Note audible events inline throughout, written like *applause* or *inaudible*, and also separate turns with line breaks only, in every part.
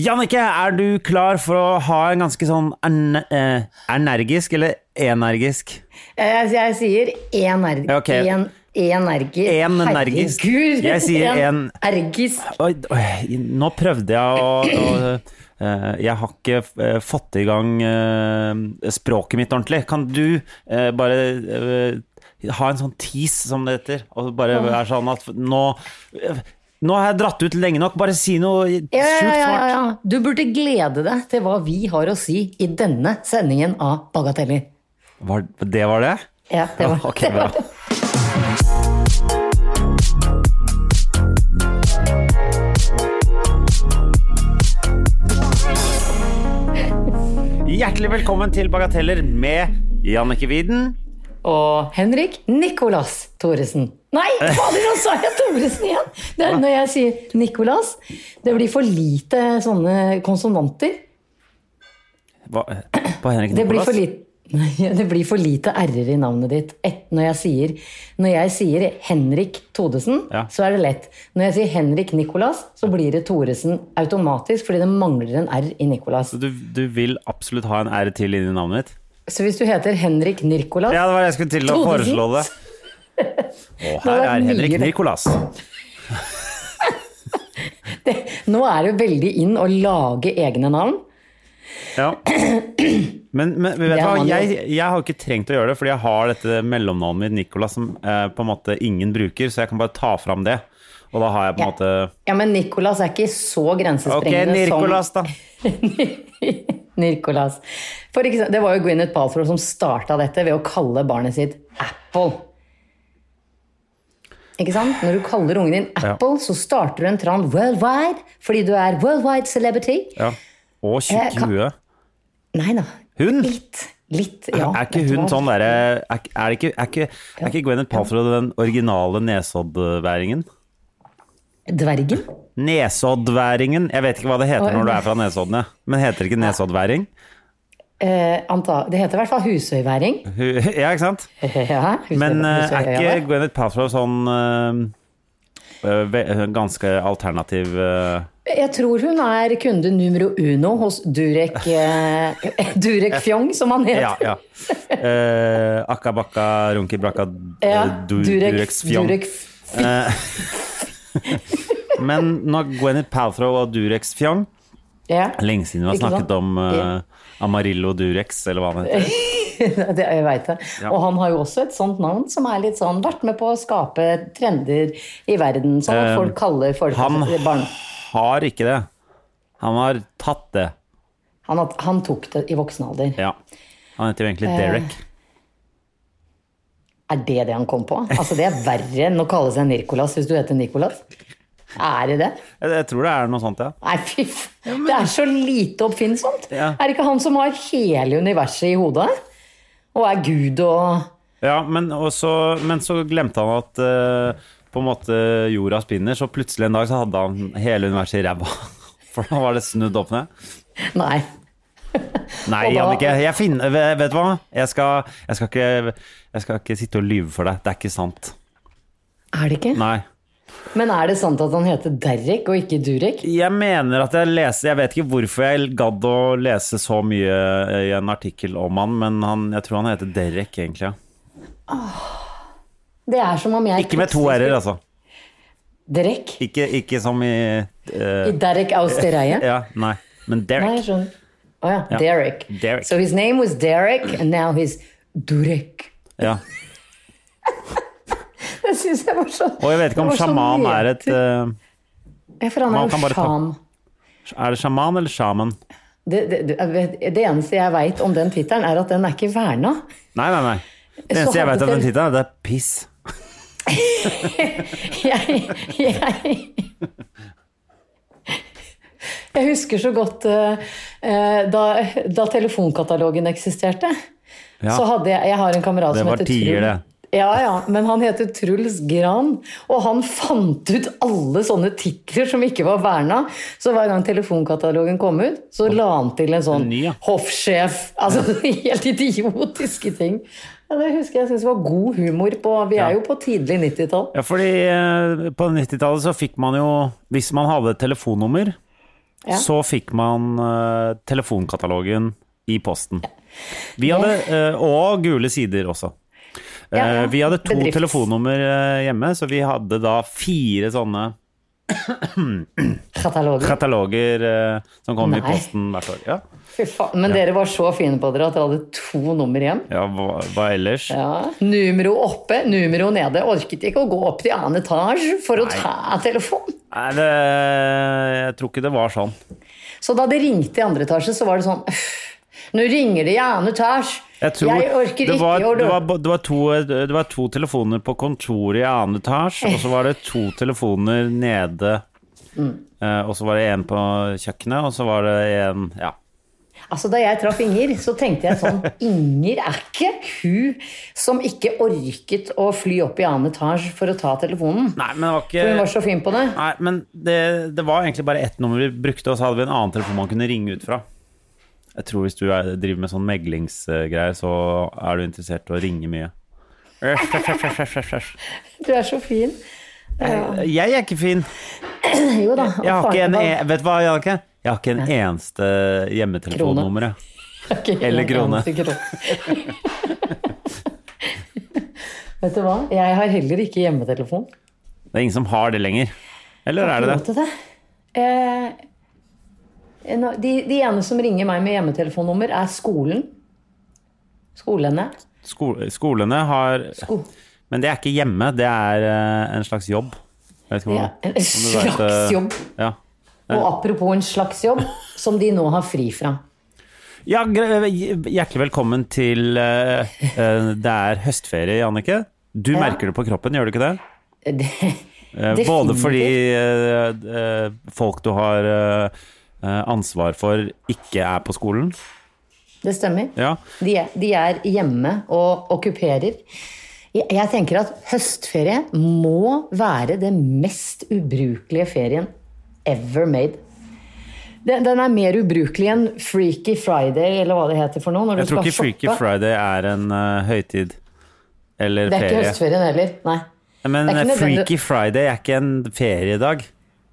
Jannicke, er du klar for å ha en ganske sånn erne- eh, energisk, eller energisk?
Jeg, jeg sier energ...
Ja, ok.
En, energi.
En energisk.
Herregud.
Jeg sier en-
Energisk.
Oi, oi, nå prøvde jeg å, å eh, Jeg har ikke eh, fått i gang eh, språket mitt ordentlig. Kan du eh, bare eh, ha en sånn tease, som det heter, og bare være sånn at nå eh, Nå har jeg dratt ut lenge nok, bare si noe sjukt
Ja, ja, ja, ja,
smart.
ja. Du burde glede deg til hva vi har å si i denne sendingen av Bagateller.
Var, det var det?
Ja, det var,
Ah, Ok,
det var
bra. Hjertelig velkommen til Bagateller med Jannicke Widen.
*laughs* Og Henrik Nikolas Thoresen. Nei,
*laughs*
fader, nå sa jeg Thoresen igjen! Det er når jeg sier Nikolas. Det blir for lite sånne konsonanter.
Hva, på Henrik
Det blir
Nicolas?
for *laughs* lite Nei, det blir for lite r-er i navnet ditt. Et, når, jeg sier, når jeg sier Henrik Todesen,
Ja.
så er det lett. Når jeg sier Henrik Nikolas, så blir det Thoresen automatisk, fordi det mangler en r i Nikolas.
Du, du vil absolutt ha en R til inni navnet ditt?
Så hvis du heter Henrik Nirkolas
Ja, det var det jeg skulle til å
Trodde
foreslå det.
*laughs*
Og her
vært
er Henrik
mye det.
Nicolas.
Nå er det jo veldig inn å lage egne navn.
Ja. Men, men vet du
Det har
hva,
man jo.
jeg, jeg har jo ikke trengt å gjøre det, fordi jeg har dette mellomnavnet mitt, Nicolas, som eh, på en måte ingen bruker, så jeg kan bare ta fram det. Og da har jeg på en
Ja.
måte
Ja, men Nikolas er ikke så
Ok,
grensesprengende
Nicolas, da.
sånn. *laughs* som Nirkolas. For eksempel, det var jo Gwyneth Paltrow som starta dette ved å kalle barnet sitt Apple. Ikke sant? Når du kaller ungen din Apple, så starter du en tran worldwide fordi du er worldwide celebrity.
Ja. Og
Jeg
tjukk i
Eh, kan-
huet.
Nei da.
Hun?
Litt. Litt, ja.
Er ikke
vet du
hun
hva?
sånn derre er, er, det ikke- er, ikke- er ikke Gwyneth Paltrow den originale nesoddværingen?
Dvergen?
Nesoddværingen. Jeg vet ikke hva det heter
Oi.
når du er fra Nesodden, jeg. men heter det ikke nesoddværing?
Eh, anta, det heter i hvert fall
*laughs*
husøyværing.
Hu- Ja, ikke sant?
Ja, husøy-
Men eh, er
husøyværing.
ikke Gwyneth Paltrow sånn eh, eh, ve- eh, ganske alternativ eh,
Jeg tror hun er kunde numero uno hos Durek eh, *laughs* Durek Fjong, som han heter.
Ja, ja. *laughs* Eh, akka bakka runki brakka eh,
Ja,
du, Dureks fjong.
Durek *laughs* F-
Men når Gwyneth Paltrow og Durex fjong
ja.
Lenge siden vi har
Ikke
snakket
sant?
om eh, Amarillo Durex, eller hva han
*laughs*
heter.
*laughs* det, jeg vet det.
Ja.
Og han har jo også et sånt navn som er litt sånn Vært med på å skape trender i verden, som
Eh,
folk kaller folk
han-
barn.
Har ikke det. Han har tatt det.
Han, at- han tok det i voksen alder.
Ja. Han heter jo
Eh.
egentlig Derek.
Er det det han kom på? Altså Det er verre enn å kalle seg Nikolas hvis du heter Nikolas. Er det det?
Jeg, jeg tror det er noe sånt, ja.
Nei, fy f... Det er så lite oppfinnsomt.
Ja.
Er det ikke han som har hele universet i hodet? Og er gud og
Ja, men, også, men så glemte han at eh, på en måte jorda spinner, så plutselig en dag så hadde han hele universet i ræva. *laughs* For da var det snudd opp ned.
Nei.
Nei,
Og da-
Jannicke, jeg finner Vet vet du hva? Jeg skal, jeg, skal ikke, jeg skal ikke sitte og lyve for deg. Det er ikke sant.
Er det ikke?
Nei.
Men er det sant at han heter Derek og ikke Durek?
Jeg mener at jeg leste Jeg vet ikke hvorfor jeg gadd å lese så mye eh, i en artikkel om han, men han, jeg tror han heter Derek, egentlig. ja.
Det er som om jeg
Ikke med to r-er, altså.
Derek?
Ikke, ikke som i eh,
I Derek Austereie?
*laughs* Ja, nei. Men
Nei,
Derek.
jeg skjønner. sånn. Å ja. Derek.
Derek.
So his name was Derek, and now he's Durek. *laughs*
Ja.
Det syns jeg var så
Og jeg vet ikke om sjaman er et eh,
Ja, for han
Man
er
kan
jo
bare ta-
sjam.
Er det sjaman eller sjaman?
Det, det, det, jeg vet- det eneste jeg veit om den tittelen, er at den er ikke verna.
Nei, nei, nei. Det
Så
eneste jeg
hadde
vet om den
dere-
tittelen, er det er piss.
Jeg, jeg, Jeg husker så godt eh, eh, da, da telefonkatalogen eksisterte.
Ja.
Så hadde jeg, jeg har en kamerat
Det
som
var
heter
tider,
Truls.
det.
Ja, ja, men han heter Truls Gran, og han fant ut alle sånne titler som ikke var verna. Så hver gang telefonkatalogen kom ut, så la han til en sånn
En ny, ja.
hoffsjef. Altså *laughs* helt idiotiske ting. Ja, det husker jeg jeg syns var god humor på Vi er jo på tidlig 90-tall.
Ja, fordi eh, på 90-tallet så fikk man jo Hvis man hadde et telefonnummer,
Ja.
så fikk man eh, telefonkatalogen i posten. Vi hadde, eh, og gule sider også. Eh,
Ja, ja.
Vi hadde to
Bedrifts.
telefonnummer eh, hjemme, så vi hadde da fire sånne
Katalogen.
kataloger eh, som kom i
Nei.
posten hvert år. Ja,
Fy faen. Men dere var så fine på dere at dere hadde to nummer hjem.
ja hva, hva ellers?
Ja. Numero oppe, numero nede. Orket ikke å gå opp til annen etasje for å ta telefonen.
Nei, det, jeg tror ikke det var sånn.
Så da det ringte i andre etasje, så var det sånn «Øff, Nå ringer det i annen etasje!
Jeg tror
orker
det var,
ikke å
det, var,
løpe
bo- det, var to, det var to telefoner på kontoret i annen etasje, og så var det to telefoner nede.
Mm.
Eh, og så var det en på kjøkkenet, og så var det en Ja.
Altså, Da jeg traff Inger, så tenkte jeg sånn Inger er ikke hun som ikke orket å fly opp i annen etasje for å ta telefonen.
Nei, men det var
For hun
ikke
var så fin på det.
Nei, men det, det var egentlig bare ett nummer vi brukte, og så hadde vi en annen telefon man kunne ringe ut fra. Jeg tror hvis du er, driver med sånn meglingsgreier, så er du interessert i å ringe
*laughs*
mye. Æsj, æsj, æsj, æsj, æsj, æsj.
Du er så fin.
Jeg er ikke fin.
Jo da.
Jeg har
og
ikke en,
faren
e- vet du hva, Jannicke? Jeg har ikke en eneste hjemmetelefonnummer. jeg.
var ikke
eller
en
krone.
eneste krone. *laughs* Vet du hva? Jeg har heller ikke hjemmetelefon.
Det er ingen som har det lenger. Eller er det
Råd
det?
til det. Eh, nå- de, de ene som ringer meg med hjemmetelefonnummer, er skolen. Skolene.
Sko skolene har
Sko
Men det er ikke hjemme, det er eh, en slags jobb. Jeg vet ikke
ja,
hvordan- om
en
du vet,
slags
eh,
jobb.
Ja.
Og apropos en slags jobb, som de nå har fri fra.
ja, gre- eh, hjertelig velkommen til eh, eh, Det er høstferie, Jannicke. Du merker det på kroppen, gjør du ikke det?
Det,
Eh, Både fordi eh, eh, folk du har eh, eh, ansvar for, ikke er på skolen.
det stemmer.
Ja.
De er, de er hjemme og okkuperer. Jeg, jeg tenker at høstferie må være den mest ubrukelige ferien ever made. Den, den er mer ubrukelig enn Freaky Friday, eller hva det heter for noe. Når du
Jeg tror
skal
ikke Freaky
shoppe.
Friday er en eh, høytid eller
Det er ikke
ferie.
høstferien heller. Nei.
Men
Det er ikke
eh,
nødvendig-
Freaky Friday er ikke en feriedag.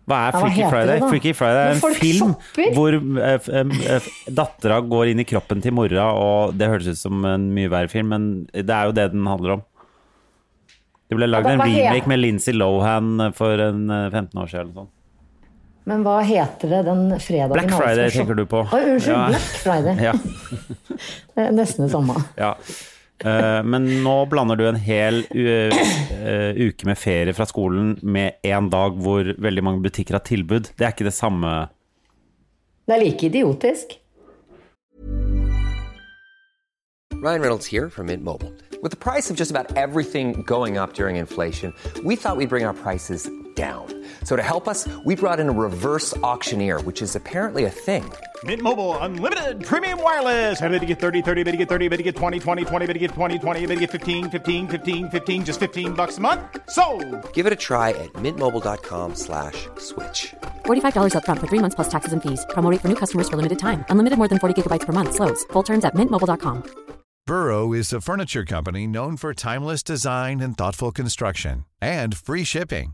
Hva er
Ja, hva
Freaky
heter det
Friday?
da?
Freaky Friday
Men
er en
folk
film
shopper.
hvor eh, f- em, eh, f- dattera går inn i kroppen til mora, og det høres ut som en mye verre film, men det er jo det den handler om. Det ble lagd
Ja,
en
hva- hva heter-
remake med Lincy Lohan for en eh, 15 år siden. Eller noe sånt.
Men hva heter det den fredagen
Black
alle
Friday
skal
tenker
shoppe?
du på.
Oi, unnskyld.
Ja.
Black Friday.
Ja,
Det er Nesten det samme.
ja. Eh, men nå blander du en hel u eh, uke med ferie fra skolen med én dag hvor veldig mange butikker har tilbud. Det er ikke det samme.
Det er like idiotisk.
Ryan Reynolds here from Mint Mobile. With the price of just about everything going up during inflation, we thought we'd bring our prices down. So to help us, we brought in a reverse auctioneer, which is apparently a thing.
Mint Mobile unlimited premium wireless. Ready to get 30, 30, bet you get 30, bet you get 20, 20, 20, bet you get 20, 20, bet you get 15, 15, 15, 15, just 15 bucks a month. So,
Give it a try at mintmobile.com slash switch.
$45 up front for three months plus taxes and fees. Promo rate for new customers for limited time. Unlimited more than 40 gigabytes per month. Slows. Full terms at mintmobile.com.
Burrow is a furniture company known for timeless design and thoughtful construction and free shipping,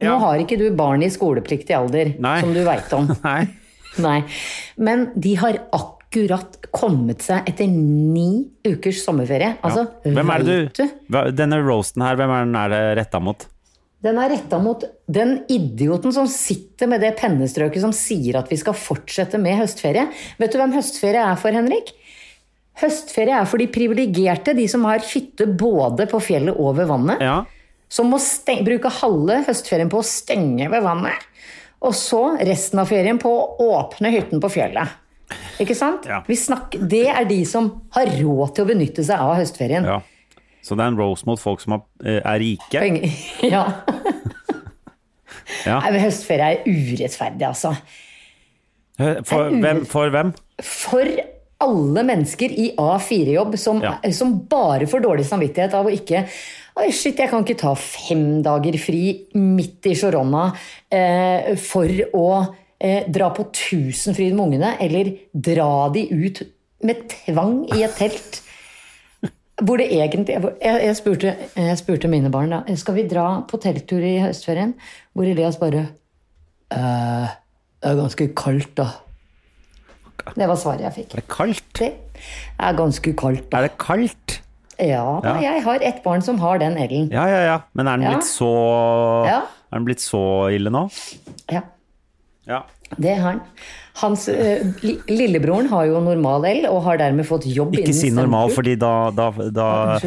*laughs*
nå har ikke du barn i skolepliktig alder,
Nei.
som du veit om.
nei.
Nei. Men de har akkurat kommet seg etter ni ukers sommerferie. Altså,
Hvem er det
vet
du Hva- Denne roasten her, hvem er den er det retta mot?
Den er retta mot den idioten som sitter med det pennestrøket som sier at vi skal fortsette med høstferie. Vet du hvem høstferie er for, Henrik? Høstferie er for de privilegerte, de som har hytte både på fjellet og ved vannet.
Ja.
Som må steng- bruke halve høstferien på å stenge ved vannet. Og så resten av ferien på å åpne hytten på fjellet. Ikke sant?
Ja.
Vi snakker, det er de som har råd til å benytte seg av høstferien.
ja. Så det er en roast mot folk som har, eh, er rike.
Poeng- *laughs* Ja.
Ja.
Nei, men høstferie er urettferdig, altså.
For hvem? For hvem?
For alle mennesker i A4-jobb som,
Ja.
som bare får dårlig samvittighet av å ikke Oi, shit, jeg kan ikke ta fem dager fri midt i Sharona eh, for å eh, dra på Tusenfryd med ungene, eller dra de ut med tvang i et telt. Hvor det egentlig hvor- Jeg, jeg, spurte, jeg spurte mine barn da Skal vi dra på telttur i høstferien. Hvor Elias bare eh, Det er ganske kaldt, da. Det var svaret jeg fikk.
Er det kaldt?
Det er ganske kaldt, da.
Er det kaldt?
Ja,
Ja.
da, jeg har et barn som har den L-en.
Ja, ja, ja. Men er den
Ja.
blitt så
Ja.
Er den blitt så ille nå?
Ja,
Ja.
det har han. Hans eh, li lillebroren har jo normal L, og har dermed fått jobb
Ikke si normal,
stemmetur.
fordi da Da, da,
Ja,
da,
Ah,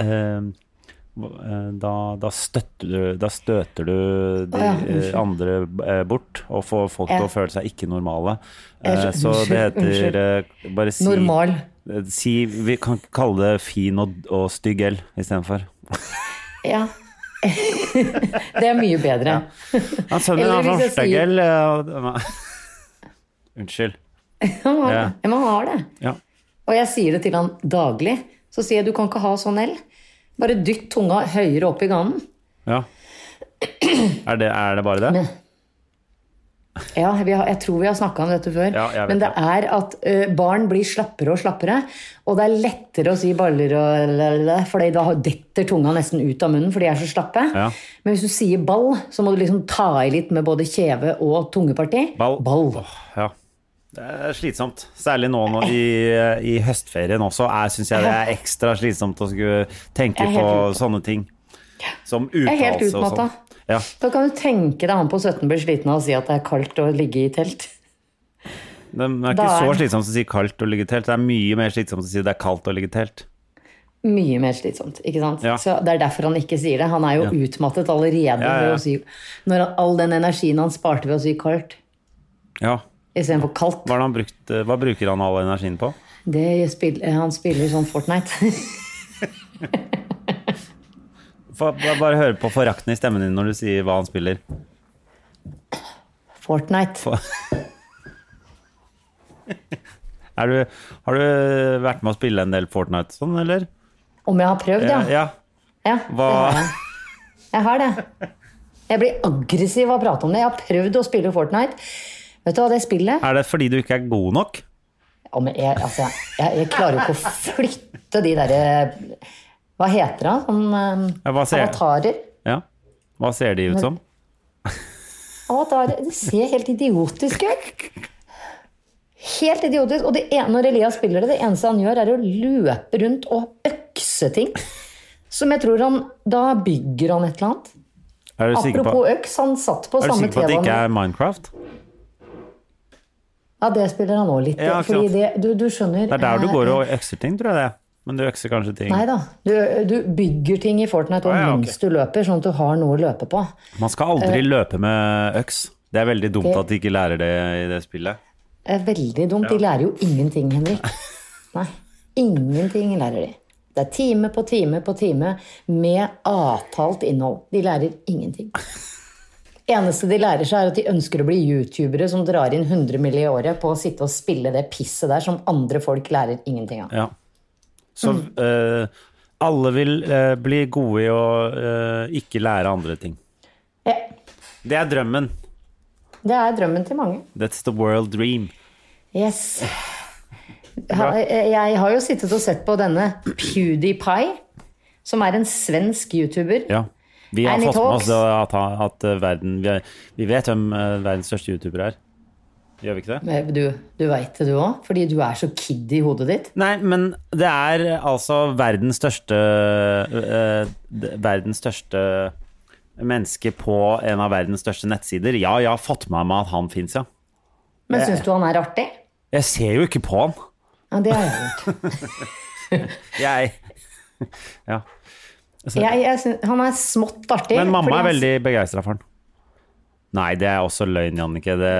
unnskyld.
eh, da, da støtter du, da støter du de
Å ja,
eh,
unnskyld.
andre eh, bort, og får folk
Ja.
til å føle seg ikke normale.
Jeg
Eh,
skjø-
Så det
unnskyld,
heter eh, Bare si
Normal.
eh, Si, vi kan kalle det fin og, og stygg L istedenfor.
Ja. *laughs* det er mye bedre.
Ja, sønnen
Eller
har sånn
hvis jeg
stygg
sier-
L. eh, *laughs* Unnskyld.
Han har
Ja.
det. Ja, men han har det.
Ja.
Og jeg sier det til han daglig. Så sier jeg du kan ikke ha sånn L. Bare dytt tunga høyere opp i ganen.
Ja. Er det, er det bare det?
Ja, vi har, jeg tror vi har snakka om dette før.
Ja, jeg vet
men det
det.
er at ø, barn blir slappere og slappere. Og det er lettere å si baller og lalala, fordi da har- detter tunga nesten ut av munnen, for de er så slappe.
Ja.
Men hvis du sier ball, så må du liksom ta i litt med både kjeve og tungeparti.
Ball.
Ball.
Åh, ja. Det er slitsomt. Særlig nå når i, i høstferien også syns jeg det er ekstra slitsomt å skulle tenke
Jeg er
på
helt utmatta.
sånne ting. Som
er helt
uttalelse og sånn.
utmatta.
Ja.
Da kan du tenke deg han på 17 blir sliten av å si at det er kaldt å ligge i telt.
Men Det er
Da
ikke
er-
så slitsomt å si kaldt å ligge i telt. Det er mye mer slitsomt å si det er kaldt å ligge i telt.
Mye mer slitsomt, ikke sant?
Ja.
Så Det er derfor han ikke sier det. Han er jo utmattet allerede
ja, ja.
ved å si Når han, all den energien han sparte ved å si kaldt
Ja.
istedenfor kaldt.
Hva, er det han brukt, eh, hva bruker han all energien på?
Det spill, eh, han spiller sånn Fortnite. *laughs*
Få- Bare høre på forakten i stemmen din når du sier hva han spiller.
Fortnite.
Er du, har du vært med å spille en del Fortnite sånn, eller?
Om jeg har prøvd, ja.
Eh, ja.
Ja,
Hva
det har jeg. Jeg har det. Jeg blir aggressiv av å prate om det. Jeg har prøvd å spille Fortnite. Vet du hva det spillet
Er det fordi du ikke er god nok?
Ja, men jeg, altså, jeg, jeg klarer jo ikke å flytte de derre Hva heter det? Sånn eh,
Ja, hva ser-
Avatarer.
Ja. Hva ser de ut som?
Avatarer. Det ser helt idiotisk ut. Helt idiotisk. Og det ene, når Elias spiller det, det eneste han gjør, er å løpe rundt og økse ting. Som jeg tror han Da bygger han et eller annet.
Er du sikker på,
Apropos øks, han satt på
er du
samme
sikker på at det
TV-en.
ikke er Minecraft?
Ja, det spiller han òg litt.
Ja, ikke
fordi
sant.
det, du, du skjønner eh,
Det er der du går og økser ting, tror jeg det. Men du økser kanskje ting
Nei da. Du, du bygger ting i Fortnite og
Ah, ja, ok.
mens du løper, sånn at du har noe å løpe på.
Man skal aldri løpe med øks. Det er veldig dumt
Det-
at de ikke lærer det i det spillet.
Det er veldig dumt. De lærer jo ingenting,
*laughs*
Henrik. Nei. Ingenting lærer de. Det er time på time på time med avtalt innhold. De lærer
*laughs*
ingenting. Eneste de lærer seg, er at de ønsker å bli youtubere som drar inn 100 mill. i året på å sitte og spille det pisset der som andre folk lærer ingenting av.
Ja. Så
Mm.
eh, alle vil eh, bli gode i å eh, ikke lære andre ting.
Ja,
Det er drømmen.
det er drømmen til mange.
That's the world dream.
Yes. Ha, jeg har jo sittet og sett på denne PewDiePie, som er en svensk YouTuber.
Ja. Vi har
Ernie
fått med oss
Talks.
at, at eh, verden Vi, er, vi vet hvem eh, verdens største YouTuber er. Gjør vi ikke det?
Men Du, du veit det, du òg, fordi du er så kid i hodet ditt.
Nei, men det er altså verdens største eh, d- Verdens største menneske på en av verdens største nettsider. Ja, jeg har fått med meg at han fins, ja.
Men syns du han er artig?
Jeg ser jo ikke på han.
Ja, det har jeg gjort.
*laughs* Jeg *laughs* Ja.
Jeg, jeg syns- han er smått artig.
Men
fordi
mamma er
han-
veldig begeistra for han. Nei, det er også løgn, Jannicke. Det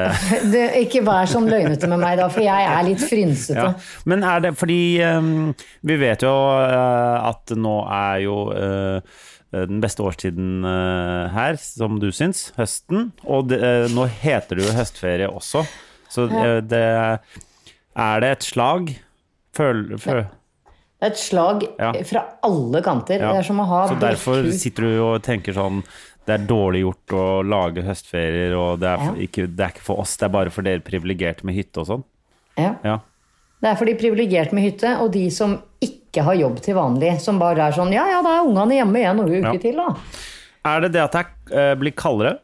Du, ikke vær sånn løgnete med meg da, for jeg er litt frynsete.
Ja. Men er det fordi ehm, Vi vet jo eh, at nå er jo eh, den beste årstiden eh, her, som du syns, høsten. Og det, eh, nå heter det jo høstferie også, så eh, det Er det et slag? Føl, føl,
Det er et slag
Ja.
fra alle kanter.
ja.
Det er som å ha
Så derfor
brekkhus.
sitter du og tenker sånn det er dårlig gjort å lage høstferier, og det er, for, ikke, det er ikke for oss, det er bare for dere privilegerte med hytte og sånn.
ja.
Ja.
Det er for de privilegerte med hytte, og de som ikke har jobb til vanlig. Som bare er sånn Ja, ja, da er ungene hjemme igjen noen uker
Ja.
til, da.
Er det det at det er- eh, blir kaldere?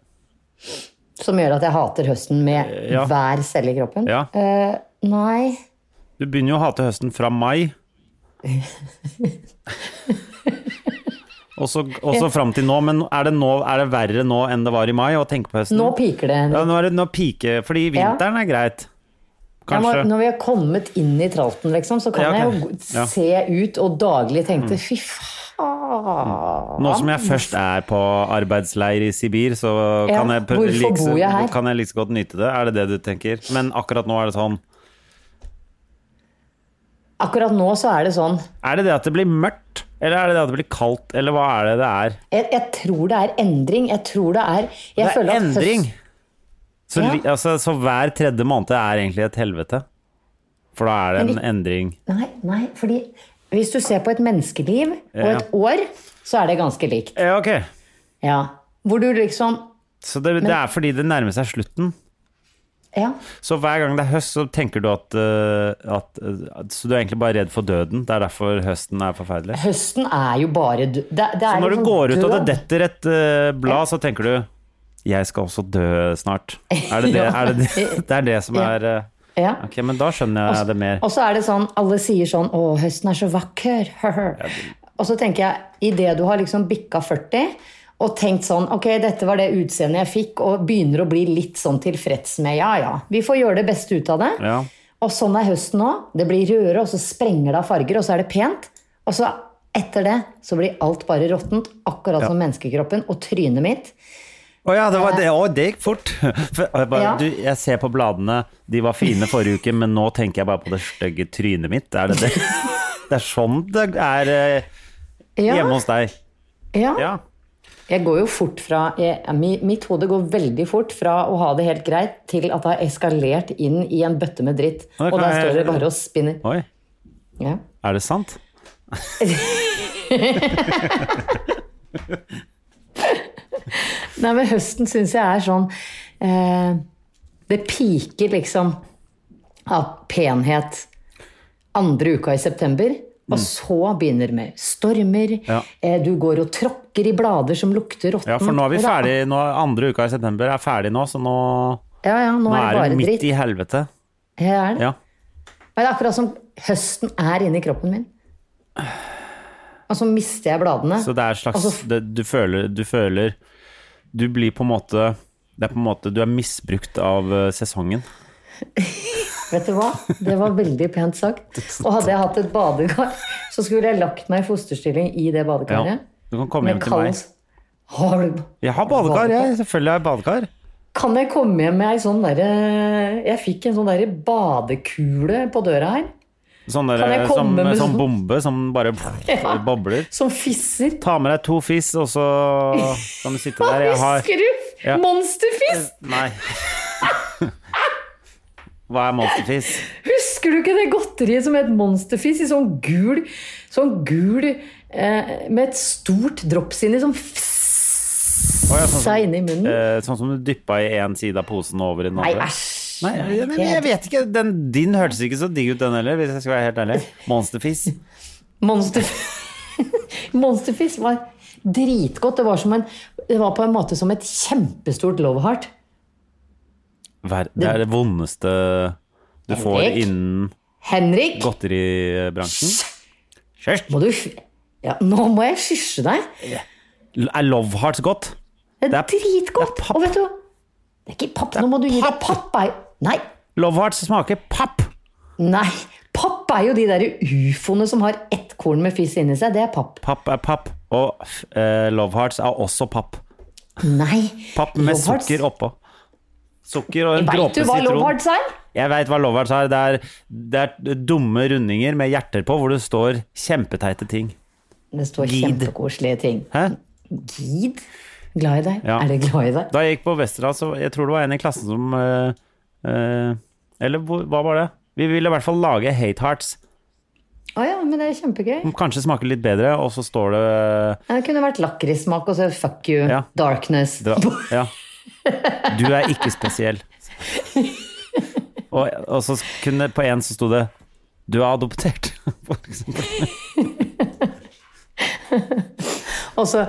Som gjør at jeg hater høsten med
Ja.
hver celle i kroppen.
Ja.
Eh, nei.
Du begynner jo å hate høsten fra mai. Og så og så fram til nå, men er det, nå, er det verre nå enn det var i mai å tenke på høsten?
Nå piker det.
ja, nå er det nå pike, fordi vinteren er greit.
Jeg må,
Kanskje.
når vi har kommet inn i tralten, liksom, så kan
Ja, ok.
jeg jo g-
Ja. Mm.
se ut og daglig tenke Fy faen.
Nå som jeg først er på arbeidsleir i Sibir, så
Ja,
kan, jeg, prø-
hvorfor bor jeg her?
kan jeg like så godt nyte det. Er det det du tenker? Men akkurat nå er det sånn
Akkurat nå så er det sånn
Er det det at det blir mørkt? Eller er det det at det blir kaldt? Eller hva er det det er?
Jeg, jeg tror det er endring. Jeg tror det er jeg
Det er
føler at
endring.
Høst,
Så,
Ja.
li- altså, så hver tredje måned er egentlig et helvete. For da er det en
Men
endring.
nei, nei, fordi hvis du ser på et menneskeliv og
Ja.
et år, så er det ganske likt.
Ja, ok.
Ja. Hvor du liksom
Så det, det er fordi det nærmer seg slutten.
Ja.
Så hver gang det er høst, så tenker du at, eh, at, eh, at Så du er egentlig bare redd for døden. Det er derfor høsten er forferdelig.
Høsten er jo bare død. Det, det
Så
er
når du
liksom
går ut og det
død.
detter et eh, blad, så tenker du jeg skal også dø snart. Er
*laughs*
det det,
Ja.
er det, det, det, er det som
Ja.
er eh,
Ja.
Ok, men da skjønner jeg det mer.
Og så er det sånn, alle sier sånn Å, høsten er så vakker. *laughs* og så tenker jeg, idet du har liksom bikka 40 og tenkt sånn Ok, dette var det utseendet jeg fikk, og begynner å bli litt sånn tilfreds med Ja, ja, vi får gjøre det beste ut av det.
Ja.
Og sånn er høsten òg. Det blir rødere, og så sprenger det av farger, og så er det pent. Og så etter det så blir alt bare råttent, akkurat som menneskekroppen og trynet mitt.
Å ja, det var det. Å, det gikk fort. *laughs* For jeg, bare,
Ja.
du, jeg ser på bladene, de var fine forrige uke, men nå tenker jeg bare på det stygge trynet mitt. Er det *laughs* det? Det er sånn det er eh,
Ja,
hjemme hos deg.
ja.
Ja.
Jeg går jo fort fra jeg, mi- Mitt hode går veldig fort fra å ha det helt greit til at det har eskalert inn i en bøtte med dritt.
Ja, det
Og
kan
der
jeg-
står det bare og spinner.
Oi,
Ja.
er det sant?
Nei, men høsten syns jeg er sånn eh, Det piker liksom av penhet andre uka i september. Og så begynner det med stormer.
Mm. Ja.
Eh, du går og tråkker i blader som lukter råtten.
Ja, for nå er vi
Og Mm, da-
ferdig. Nå, andre uka i september er ferdig nå, så nå,
Ja, ja, nå,
nå
er det
er
bare
det midt
dritt.
i helvete.
Ja, er det.
Ja.
Men det er akkurat som høsten er inni kroppen min. Og så mister jeg bladene.
Så det er et slags
Altså-
det, du, føler, du føler Du blir på en måte Det er på en måte Du er misbrukt av eh, sesongen.
Vet du hva? Det var veldig pent
*laughs*
sagt. Og hadde jeg hatt et badekar, så skulle jeg lagt meg i fosterstilling i
Ja.
det badekaret.
Du kan komme hjem til
kald-
meg.
Har du
Jeg har badekar, jeg. Selvfølgelig har jeg badekar.
Kan jeg komme hjem med ei sånn derre Jeg fikk en sånn derre badekule på døra her,
Sånn der,
Kan jeg komme
som,
med
sånn
sånn-
bombe som bare
*laughs*
bobler.
som fisser.
Ta med deg to fiss, og så kan du sitte
Hva
der. Jeg har
husker du?
Ja.
Monsterfiss!
Nei. *laughs* Hva er monsterfiss?
Husker du ikke det godteriet som het Monsterfiss i sånn gul Sånn gul eh, med et stort drops inni som fissa
Å, ja, sånn, som,
inni munnen?
eh, sånn som du dyppa i én side av posen og over i den
Nei,
andre?
æsj.
Nei, jeg, jeg, jeg vet ikke. Den, din hørtes ikke så digg ut, den heller, hvis jeg skal være helt ærlig. Monsterfiss.
Monster... *laughs* Monsterfiss var dritgodt. Det var, som en, det var på en måte som et kjempestort love heart.
Ver- Det er det vondeste du får
Henrik?
innen
Henrik,
godteribransjen. Kjørt!
må du f- ja, Nå må jeg skysje deg!
Er love hearts godt?
Det er,
Det er-
dritgodt.
det er papp.
Og vet du hva? Det er ikke papp. Nå må du gi deg
papp.
papp. Er, nei,
Love Hearts smaker papp!
nei. Papp er jo de der ufoene som har ett korn med fiss inni seg. Det er papp.
Papp er papp, og eh, Love Hearts er også papp.
Nei.
Papp med
Love Hearts.
sukker oppå. Sukker og en
Vet
dråpe
du hva Love
sitron.
Hearts er?
Jeg veit hva Love Hearts er. Det er, det er dumme rundinger med hjerter på, hvor det står kjempeteite ting.
Det står
Gid.
kjempekoselige ting.
Hæ?
Gid? Glad i deg?
Ja.
Er det glad i deg?
Da jeg gikk på Westerdal, så jeg tror det var en i klassen som eh, eh, Eller hvor, hva var det? Vi ville i hvert fall lage Hate Hearts.
Å ja, men det er kjempegøy.
Kanskje smaker litt bedre, og så står det
Ja, Det kunne vært lakrissmak og så fuck you,
Ja.
darkness.
dra, Ja. Du er ikke spesiell. Og, og så kunne på en så sto det Du er adoptert, *laughs* for eksempel.
*laughs* Og så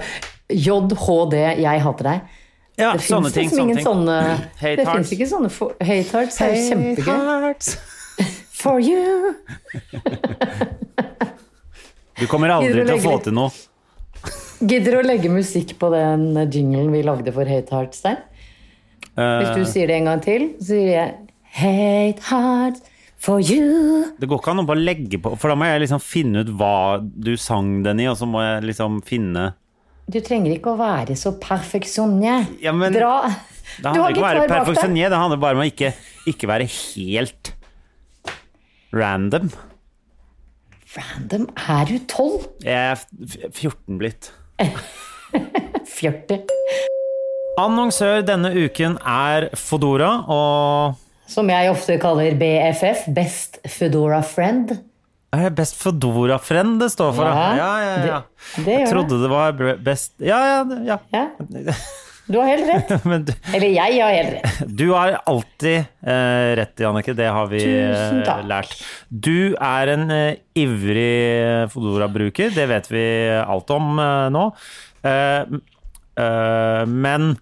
JHD, jeg hater deg.
Ja,
Det fins
sånne ting.
liksom
Sånne
ingen
ting.
sånne
Hate
Det
hearts.
fins ikke sånne for, hate hearts. Det er jo kjempegøy.
hearts.
For you!
Du kommer aldri til å få til noe.
Gidder å legge musikk på den jinglen vi lagde for Hate Hearts der? Hvis
Eh,
du sier det en gang til, så sier jeg Hate Hearts for you.
Det går ikke an å bare legge på, for da må jeg liksom finne ut hva du sang den i, og så må jeg liksom finne
Du trenger ikke å være så perfeksjonert.
Ja, men-
Dra.
Det
Du
handler
har
ikke om å
gitar
være
bak deg.
perfeksjonier, det handler bare om å ikke, ikke være helt random.
Random. Er du tolv?
Jeg er f- 14 blitt.
40.
Annonsør denne uken er Fodora, og
Som jeg ofte kaller BFF. Best Foodora Friend.
er det Best Fodora-friend det står for?
Ja, det-
jeg
det gjør det.
trodde det var bre- best Ja, ja, ja. *laughs*
Ja. Du har helt rett.
Men du,
Eller jeg har helt rett.
du har alltid eh, rett, Jannicke. Det har vi eh,
Tusen takk.
lært. Du er en eh, ivrig eh, Fodora-bruker. Det vet vi alt om eh, nå. Eh, eh, men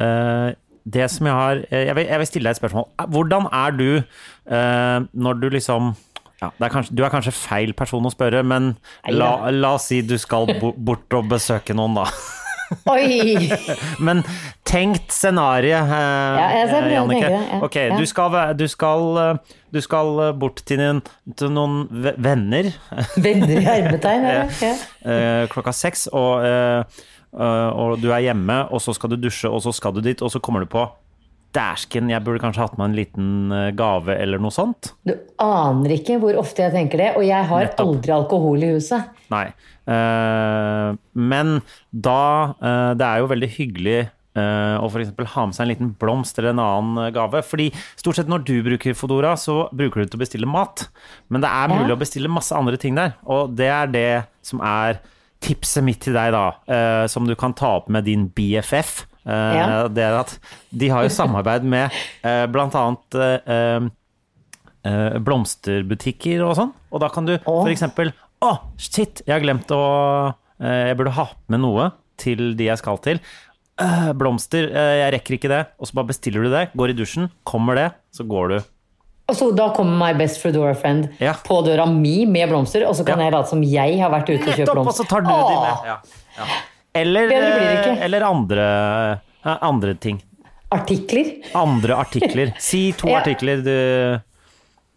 eh, det som jeg har eh, jeg vil, jeg vil stille deg et spørsmål. Hvordan er du eh, når du liksom ja, det er kanskje, Du er kanskje feil person å spørre, men la, la oss si du skal bo- bort og besøke noen, da.
Oi!
Men tenkt scenario, eh,
jeg ser det, jeg
Jannicke.
tenker det, ja,
ok,
ja.
Du, skal, væ- du, skal, eh, du skal eh, bort til noen, til noen ve- venner
Venner i hermetegn. er det? Ja.
eh, klokka seks, og, eh, eh, og du er hjemme, og så skal du dusje, og så skal du dit, og så kommer du på Dæsken, jeg burde kanskje hatt meg en liten eh, gave eller noe sånt.
Du aner ikke hvor ofte jeg tenker det, og jeg har
Nettopp.
aldri alkohol i huset.
Nei. Eh, men da eh, Det er jo veldig hyggelig eh, å f.eks. ha med seg en liten blomst eller en annen eh, gave. Fordi stort sett når du bruker Fodora, så bruker du det til å bestille mat. Men det er mulig
Ja.
å bestille masse andre ting der, og det er det som er tipset mitt til deg, da. eh, som du kan ta opp med din BFF. Eh,
Ja.
Det er at de har jo samarbeid med uh, blant annet eh, eh, eh, blomsterbutikker og sånn. Og da kan du for eksempel Å, shit, jeg har glemt å eh, Jeg burde ha med noe til de jeg skal til. Øh, blomster, eh, jeg rekker ikke det. Og så bare bestiller du det, går i dusjen, kommer det, så går du.
Og så Altså, da kommer My Best Foodora Friend
Ja.
på døra mi med blomster, og så kan
Ja.
jeg late som jeg har vært ute og kjøpt
Nettopp, altså. og
blomster.
så tar du de med. Ja, ja. Eller,
Bedre blir det ikke.
eh, eller andre, eh, andre ting.
Artikler.
Andre
*laughs*
artikler. Si to
Ja.
artikler du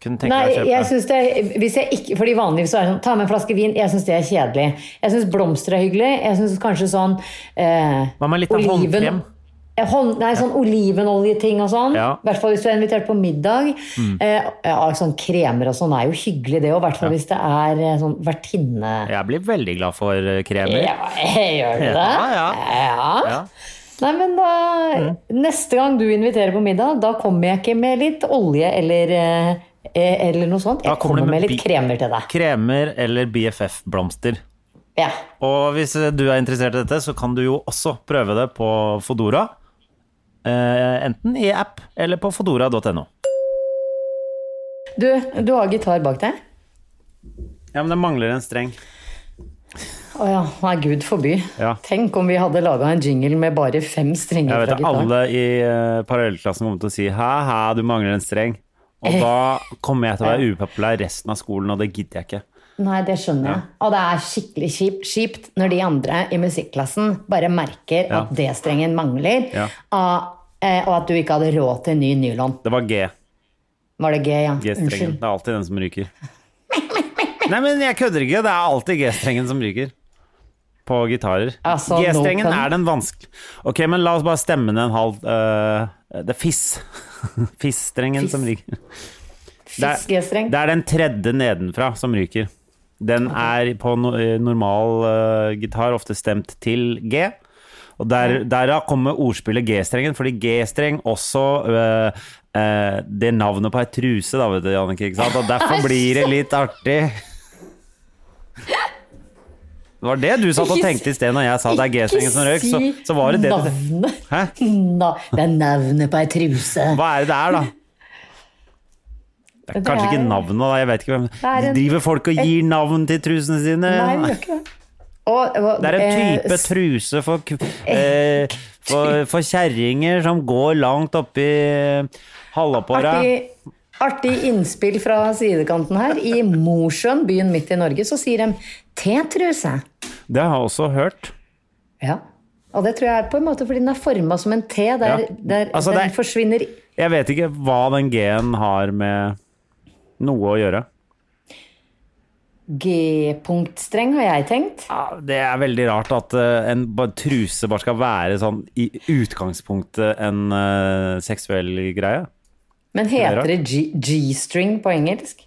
kunne tenke
Nei,
deg å
jeg
kjøpe.
synes det er, hvis jeg ikke, fordi vanligvis så er det sånn, ta med en flaske vin, jeg synes det er kjedelig. Jeg synes blomster er hyggelig, jeg synes kanskje sånn eh,
Hva med litt av håndkrem?
Eh, Hånd, nei, sånn olivenoljeting og sånn. I
Ja. Mm.
hvert fall hvis du er invitert på middag. Eh, ja, sånn kremer og sånn er jo hyggelig det, og i hvert fall hvis det er eh, sånn vertinne...
Jeg blir veldig glad for eh, kremer.
Ja, gjør du det?
Ja, ja.
Ja.
Ja.
Nei, men da,
Mm.
Neste gang du inviterer på middag, da kommer jeg ikke med litt olje eller, eh, eller noe sånt.
Da
Jeg kommer, med, litt
bi-
kremer til deg.
Kremer eller BFF-blomster.
Ja.
Og hvis du er interessert i dette, så kan du jo også prøve det på Fodora. Eh, enten i app eller på fodora.no.
Du, du har gitar bak deg?
Ja, men det mangler en streng.
Å ja, nei, gud forby.
Ja.
Tenk om vi hadde laga en jingle med bare fem
Jeg
strenger
vet
fra
at
gitaren.
alle i eh, parallellklassen kommer til å si hæ, hæ, du mangler en streng. Og da kommer jeg til å være upopulær resten av skolen, og det gidder jeg ikke.
Nei, det skjønner jeg. Og det er skikkelig kjipt, kjipt når de andre i musikklassen bare merker
Ja.
at D-strengen mangler,
Ja.
og, eh, og at du ikke hadde råd til en ny nylon.
Det var G.
Var det G, ja?
G-strengen.
Unnskyld.
Det er alltid den som ryker. Nei, men jeg kødder ikke. Det er alltid G-strengen som ryker. På gitarer.
Altså,
G-strengen
no pun.
er den vanskelig Ok, men la oss bare stemme ned en halv eh, Det er fiss. *laughs* Fiss-strengen
Fiss.
som ryker. Det er,
Fisk G-streng.
det er den tredje nedenfra som ryker. Den er på no, eh, normal eh, gitar ofte stemt til G. Og der, derav kommer ordspillet G-strengen, fordi G-streng også eh, eh, Det er navnet på ei truse, da, vet du, Jannicke. Ikke sant? Og derfor blir det litt artig. Det var det du satt og
Ikke
tenkte i sted når jeg sa det er G-strengen som røyk. Så, så var det det du
Navnet.
Hæ?
*laughs* Na, det er navnet på ei truse.
Hva er det det er, da? Det er
Det
kanskje
er-
ikke navnet, da. Jeg vet ikke hvem
er en-
Driver folk og gir navn til trusene sine?
Nei, det gjør ikke det. Og, og,
Det er en type
eh,
truse for, k- eh, for, for kjerringer som går langt oppi halvåpåra.
Artig, artig innspill fra sidekanten her. I Mosjøen, byen midt i Norge, så sier de T-truse.
Det har jeg også hørt.
Ja. Og det tror jeg er på en måte fordi den er forma som en T, der,
Ja.
der
Altså,
den
det er-
forsvinner
Jeg vet ikke hva den G-en har med noe å gjøre.
G-punktstreng, har jeg tenkt.
Ja, Det er veldig rart at eh, en ba- truse bare skal være sånn i utgangspunktet en eh, seksuell greie.
Men
Det er
heter det G- G-string på engelsk?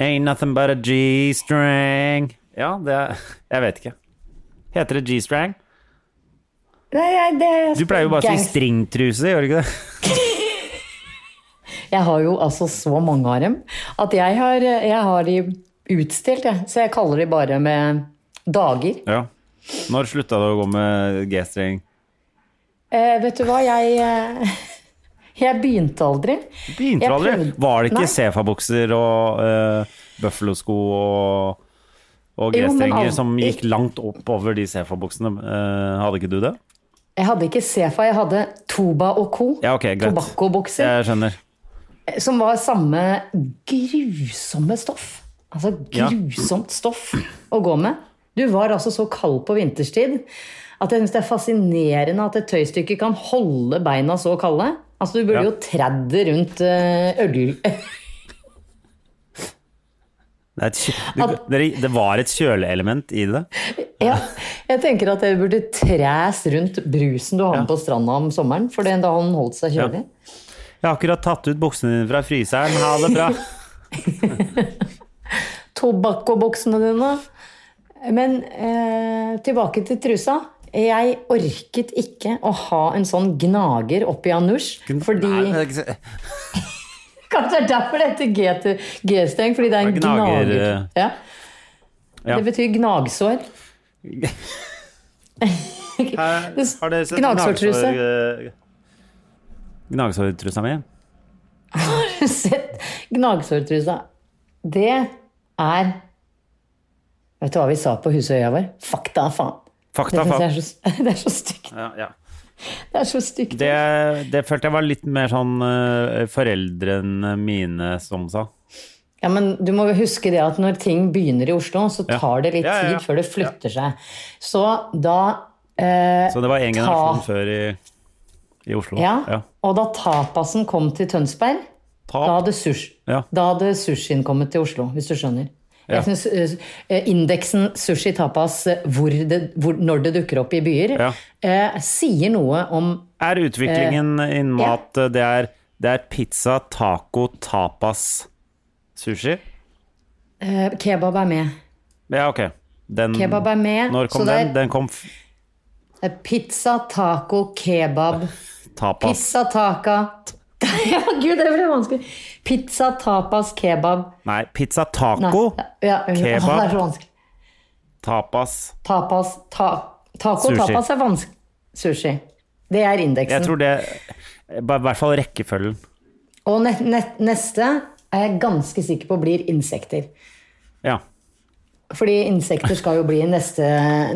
Ain't nothing but a G-string. Ja, det er, Jeg vet ikke. Heter det G-strang?
Nei, jeg, det er
Du pleier jo bare å si
gangs-
stringtruse, gjør du ikke det?
Jeg har jo altså så mange av dem at jeg har, jeg har de utstilt, jeg. Så jeg kaller de bare med dager.
Ja. Når slutta du å gå med G-streng?
Eh, vet du hva, jeg eh, *laughs* Jeg begynte aldri.
Begynte
Jeg
du aldri?
prøvde-
Var det
Nei.
ikke Sefa-bukser og uh, bøffelosko og, og
Jo, men
G-strenger
al-
som gikk langt oppover de Sefa-buksene? Eh, hadde ikke du det?
Jeg hadde ikke Sefa, jeg hadde Toba og Co.
Ja, ok, greit. Eh,
Tobakkobukser.
Jeg skjønner.
Som var samme grusomme stoff. Altså
Ja.
grusomt stoff å gå med. Du var altså så kald på vinterstid at jeg syns det er fascinerende at et tøystykke kan holde beina så kalde. Altså, du burde
Ja.
jo tredde rundt eh, øl...
Det, er et kjø- du, dere- det var et kjøleelement i det.
*laughs* Ja, jeg tenker at det burde træs rundt brusen du har med på stranda om sommeren, for den- da har den holdt seg kjølig.
Jeg har akkurat tatt ut buksene dine fra fryseren. Ha det bra.
tobakkoboksene dine. Men eh, tilbake til trusa. Jeg orket ikke å ha en sånn gnager oppi anusj. Fordi
Nei, det er ikke så-
Kanskje det er derfor det heter G til G-streng, fordi det er en
Det er gnager, eh.
gnager. Ja.
Ja.
Det betyr gnagsår. *laughs*
Her- har dere sett
Gnagsårtruse.
gnagsår, eh, Gnagsårtrusa mi?
Har du sett gnagsårtrusa? Det er Vet du hva vi sa på Husøya vår? Fakta, faen.
Fakta,
det,
faen.
synes jeg er så, *laughs* det er så stygt.
Ja, ja.
Det er så stygt.
Det, det følte jeg var litt mer sånn eh, foreldrene mine som sa.
Ja, men du må huske det at når ting begynner i Oslo, så
Ja.
tar det litt
Ja, ja, ja.
tid før det flytter seg. Så da eh,
Så det var en
Ta-
generasjon før i, i Oslo.
ja, Og da tapasen kom til Tønsberg,
Tap.
da hadde, sus
Ja.
da hadde sushien kommet til Oslo, hvis du skjønner.
Ja.
Jeg synes eh, Indeksen sushi tapas eh, hvor det, hvor, når det dukker opp i byer,
Ja.
eh, sier noe om
Er utviklingen innen
ja.
mat eh, det, er, det er pizza, taco, tapas, sushi?
eh, Kebab er med.
Ja, ok. Den,
Kebab er med.
Mm. Når kom
så det er
den? Den kom f
eh, pizza, taco, kebab.
tapas.
Pizza, taca *laughs* Ja, gud, det ble vanskelig. Pizza, tapas, kebab
Nei, pizza,
Nei,
taco,
ja, unnskyld. Åh, Det er så
Kebab.
vanskelig.
tapas.
Tapas, ta, taco,
Sushi.
tapas er vanskelig. Sushi. Det er
Jeg
indeksen.
tror det I hvert fall rekkefølgen.
Og ne ne neste er jeg ganske sikker på blir insekter.
Ja.
Fordi insekter skal jo bli neste,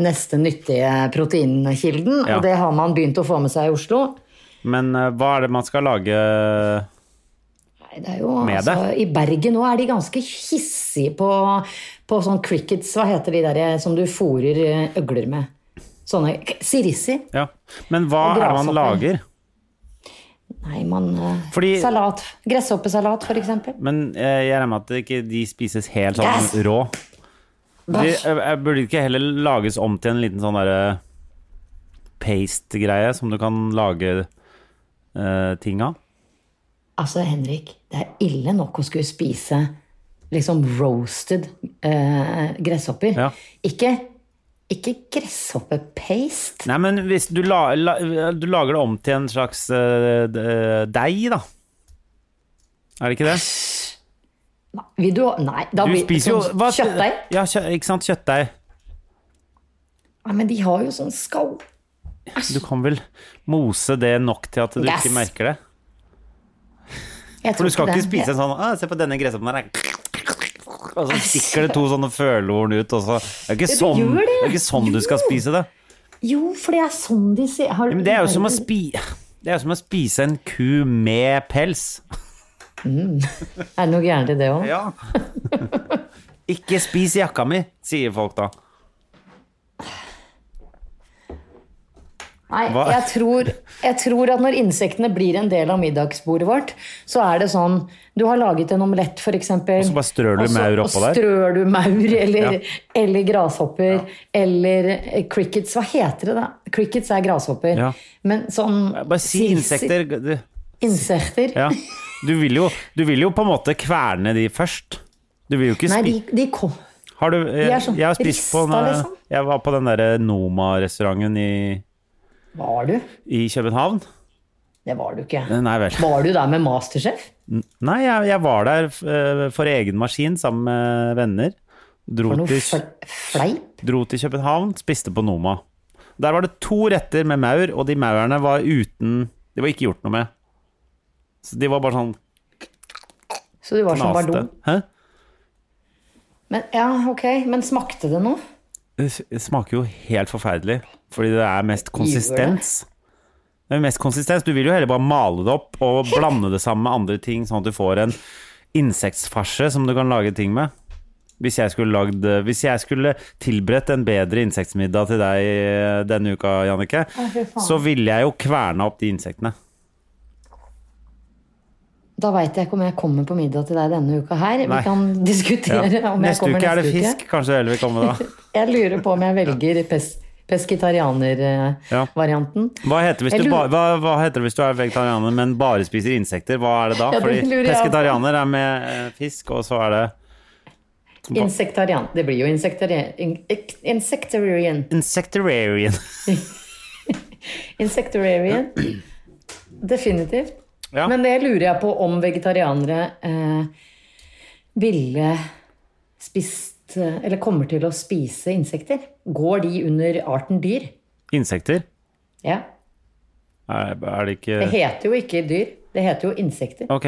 neste nyttige proteinkilden,
Ja.
og det har man begynt å få med seg i Oslo.
Men eh, hva er det man skal lage
Det er jo,
Med
altså,
det?
I Bergen nå er de ganske hissige på, på sånn crickets, hva heter de der som du fôrer eh, øgler med? Sånne k- sirissi?
Ja. Men hva er det man
Grasshopper.
lager?
Nei, man eh,
Fordi-
Salat. Gresshoppesalat, for eksempel.
Men eh, jeg regner med at det ikke de spises helt sånn
Yes!
rå. De, eh, eh, burde de ikke heller lages om til en liten sånn derre paste-greie som du kan lage eh, ting av?
Altså, Henrik, det er ille nok å skulle spise liksom roasted eh, gresshopper.
Ja.
Ikke, ikke gresshoppepaste.
Nei, men hvis du, la, la, du lager det om til en slags eh, de- deig, da. Er det ikke det?
Vil du Nei, da
Du
blir det
spiser jo
sånn
hva-
kjøttdeig.
Ja, kjø, ikke sant. Kjøttdeig.
Nei, men de har jo sånn skall.
Du kan vel mose det nok til at du
Yes!
ikke merker det?
Jeg
For
tror
du skal
det.
ikke spise en sånn «Ah, Se på denne gresshoppen her. Og så stikker det to sånne følehorn ut, og så Det er ikke
Det
sånn,
gjør
det
det.
er ikke sånn du skal
Jo.
spise det.
Jo, for det er sånn de sier. Har-
Ja, men det er jo som å, spi, det er jo som å spise en ku med pels.
Er det noe gærent i det òg?
Ja. *laughs* ikke spis jakka mi, sier folk da.
Nei,
Hva?
jeg tror, jeg tror at når insektene blir en del av middagsbordet vårt, så er det sånn Du har laget en omelett, for eksempel.
Og så bare strør du
og så-
maur oppå der.
Og strør du maur, eller,
Ja.
eller grashopper, eller eh, crickets. Hva heter det, da? Crickets er grashopper.
Ja.
Men sånn
Bare si insekter. du-
Insekter.
Ja. Du, vil jo, du vil jo på en måte kverne de først. Du vil jo ikke
Nei,
spise
de, de kom
Har du, jeg,
er sånn
jeg har spist på
rista,
en,
liksom.
Jeg var på den der Noma-restauranten i,
Var du?
i København.
Det var du ikke.
Nei vel.
Var du der med Masterchef?
Nei, jeg, jeg var der eh, for egen maskin sammen med venner. Dro
Var det noe
til,
fle- fleip?
dro til København, spiste på Noma. Der var det to retter med maur, og de maurene var uten De var ikke gjort noe med. Så de var bare sånn
Så du var som
knaste.
Bardot?
Hæ?
Men, ja, ok. Men smakte det noe?
Det s- det smaker jo helt forferdelig, fordi det er mest konsistens. Det er mest konsistens. Du vil jo heller bare male det opp
*laughs*
og blande det sammen med andre ting, sånn at du får en insektfarse som du kan lage ting med. Hvis jeg skulle, lagd, hvis jeg skulle tilberedt en bedre insektmiddag til deg eh, denne uka, Jannicke,
fy faen.
så ville jeg jo kverna opp de insektene.
Da veit jeg ikke om jeg kommer på middag til deg denne uka her.
Nei.
Vi kan *laughs*
Ja.
diskutere om jeg
Neste
kommer
uke er det
neste
fisk, kanskje heller vil komme
*laughs*
da.
uke. Jeg lurer på om jeg velger pes eh,
Ja.
pesketarianer-varianten.
Hva heter, hvis
Jeg
du ba,
lurer-
hva, hva heter det hvis du er vegetarianer, men bare spiser insekter? Hva er det da?
Ja, det
Fordi
lurer jeg på.
pesketarianer er med eh, fisk, og så er det
Insektarian. Det blir jo insektarian. in- Insektarian.
insectarian. *laughs*
Insektarian. Definitivt.
Ja.
Men det lurer jeg på om vegetarianere eh, ville spist eh, Eller kommer til å spise insekter. Går de under arten dyr?
Insekter?
Ja.
Er, er det
Det
ikke
heter jo ikke dyr. Det heter jo insekter.
Ok.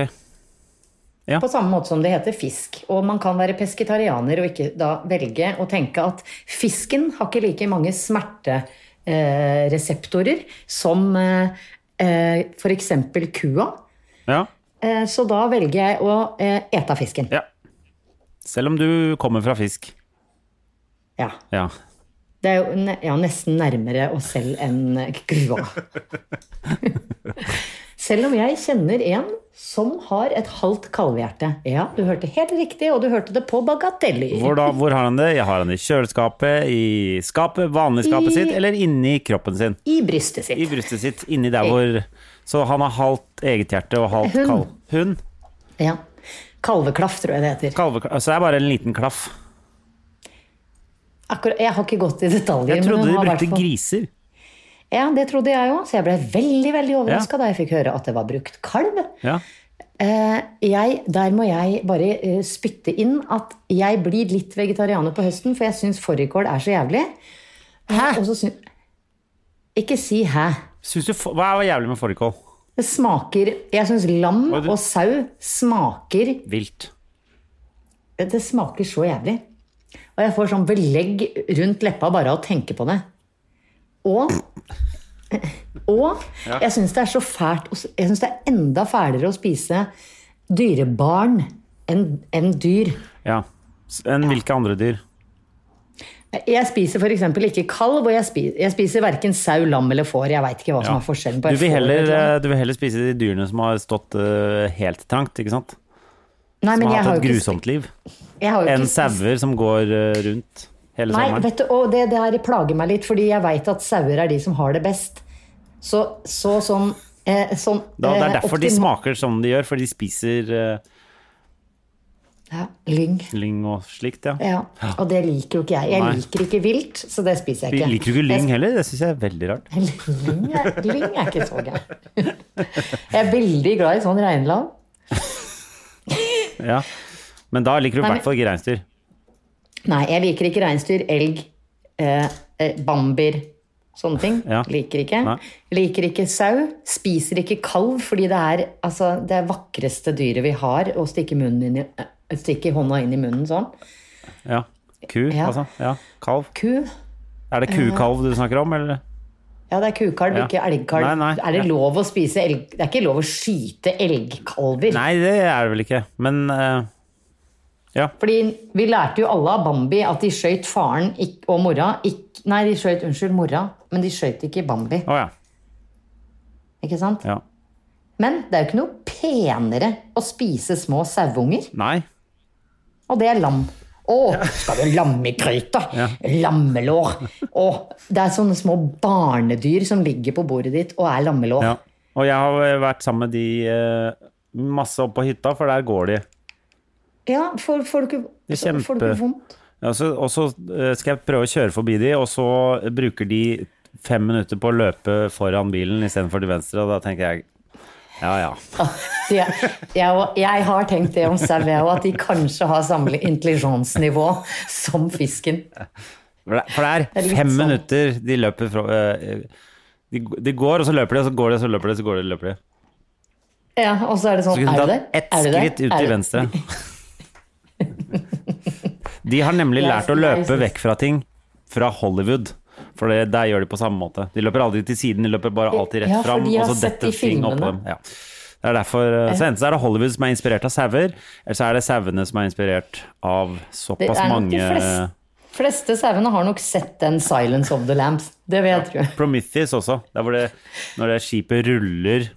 På samme måte som det heter fisk. Og man kan være pesketarianer og ikke da velge å tenke at fisken har ikke like mange smertereseptorer som eh, eh, f.eks. kua.
Ja.
Eh, så da velger jeg å eh, ete fisken.
ja. Selv om du kommer fra fisk.
Ja.
Ja.
Det er jo ne ja, nesten nærmere oss selv enn eh,
*laughs*
kua. selv om jeg kjenner en som har et halvt kalvehjerte. Ja, du hørte helt riktig, og du hørte det på Bagateller.
Hvor, da, hvor har han det? Jeg har han i kjøleskapet, i skapet, vanlig skapet
I-
sitt, eller inni kroppen sin.
I brystet sitt.
I brystet sitt, inni der hvor Så han har halvt eget hjerte og halvt
Hund.
kalv. Hund.
Ja. Kalveklaff, tror jeg det heter.
Kalvekla- altså det er bare en liten klaff.
Akkurat, jeg har ikke gått i detaljer.
Jeg
men
trodde
hun
de
har
brukte
hvertfall-
griser.
Ja, det trodde jeg òg, så jeg ble veldig veldig overraska
Ja.
da jeg fikk høre at det var brukt kalv.
Ja.
Eh, jeg, der må jeg bare eh, spytte inn at jeg blir litt vegetarianer på høsten, for jeg syns fårikål er så jævlig. Hæ? Og så syn- Ikke si hæ.
Syns du, f- hva er jævlig med fårikål?
Det smaker Jeg syns lam
Hva er det?
og sau smaker
Vilt.
Det smaker så jævlig. Og jeg får sånn belegg rundt leppa bare av å tenke på det. Og og jeg syns det er så fælt å s- Jeg syns det er enda fælere å spise dyrebarn enn enn dyr.
Ja. S- Enn hvilke andre dyr?
Jeg spiser f.eks. ikke kalv, og jeg spiser, jeg spiser verken sau, lam eller får. Jeg veit ikke hva som
Ja.
er forskjellen
Du
på et
vil,
får og
heller,
et lam.
eh, du vil heller spise de dyrene som har stått eh, helt trangt, ikke sant?
Nei,
Som
men jeg
har
har
hatt et
jo ikke
grusomt liv.
sp- jeg har jo ikke
Enn
spist-
sauer som går eh, rundt hele
Nei,
sommeren.
vet du, og det der plager meg litt, fordi jeg veit at sauer er de som har det best. Så, så sånn, eh, sånn
Da, det er
eh,
derfor de
optim-
smaker som de gjør, for de spiser eh,
Ja, lyng.
lyng og slikt, ja.
Ja, og det liker jo ikke jeg. Jeg
Nei.
liker ikke vilt, så det spiser jeg
Vi
ikke.
liker jo ikke lyng heller, det syns jeg er veldig rart.
*laughs* Lyng er, lyng er ikke så gøy. Jeg er veldig glad i sånn reinlav.
Ja. Men da liker du i
Nei, men-
hvert fall ikke reinsdyr.
Nei, jeg liker ikke reinsdyr, elg, eh, eh, bambier, sånne ting.
Ja.
Liker ikke.
Nei.
Liker ikke sau. Spiser ikke kalv, fordi det er altså, det er vakreste dyret vi har, å stikke, munnen inn i, eh, stikke hånda inn i munnen sånn.
Ja. Ku,
Ja.
altså. Ja. Kalv.
Ku.
Er det kukalv du snakker om, eller?
Ja, det er kukalv,
Ja.
ikke elgkalv.
Nei, nei.
Er det lov å spise elg... Det er ikke lov å skyte elgkalver.
Nei, det er det vel ikke. Men eh, ja.
Fordi vi lærte jo alle av Bambi at de skjøt faren ikk- og mora ikk- Nei, de skjøt, unnskyld, mora, men de skjøt ikke Bambi.
Å ja.
Ikke sant?
ja.
Men det er jo ikke noe penere å spise små saueunger,
Nei.
og det er lam. Å, skal du lamme i krøyta? Lammelår. Å, det er sånne små barnedyr som ligger på bordet ditt og er lammelår.
Ja. Og jeg har vært sammen med de eh, masse opp på hytta, for der går de.
Ja, får, får, du ikke,
Det er kjempe-
får du ikke vondt?
Ja, så- Og så eh, skal jeg prøve å kjøre forbi de, og så bruker de fem minutter på å løpe foran bilen istedenfor til venstre, og da tenker jeg ja ja.
Så Jeg, jeg, og- jeg har tenkt det om sau, jeg òg, at de kanskje har samme intelligensnivå som fisken.
For det, for det
Det er
er
litt
fem
sånn.
minutter de løper fra eh, de, de går, og så løper de, og så går de, og så løper de, og så går de, og løper de.
Ja, og så er det sånn,
Så kunne
er
du ta
du der?
ett
Er du der?
skritt ut
Er
til
du-
venstre.
*laughs*
De har nemlig
Jeg-
lært å
jeg
løpe
synes-
vekk fra ting fra Hollywood. For det, der gjør de på samme måte. De løper aldri til siden, de løper bare alltid rett
Ja, for
fram.
de har
Og så
sett
detter
de
ting oppå dem.
filmene.
Ja. Det er derfor, eh, så enten så er det Hollywood som er inspirert av sauer, eller så er det sauene som er inspirert av
Det
såpass
er nok de
mange
fleste, fleste sauene har nok sett den 'Silence of the Lambs'. Det vil jeg tro.
Prometheus også. Der hvor det, når det skipet ruller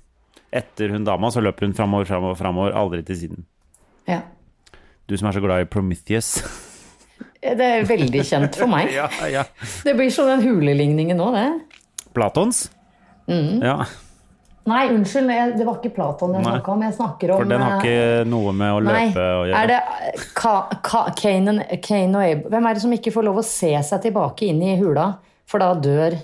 etter hun dama, så løper hun framover, framover, framover, aldri til siden.
Ja.
Du som er så glad i Prometheus.
Det er veldig kjent
*laughs*
for meg. Det blir sånn den huleligningen nå, det.
Platons?
Mm.
Ja,
Nei, unnskyld, jeg- det var ikke Platon jeg
Nei.
snakka om. Jeg snakker om
for den har
eh,
ikke noe med å
Nei,
løpe å gjøre.
er det eh, Ka- Ka- Kanan Cain og Abel Hvem er det som ikke får lov å se seg tilbake inn i hula, for da dør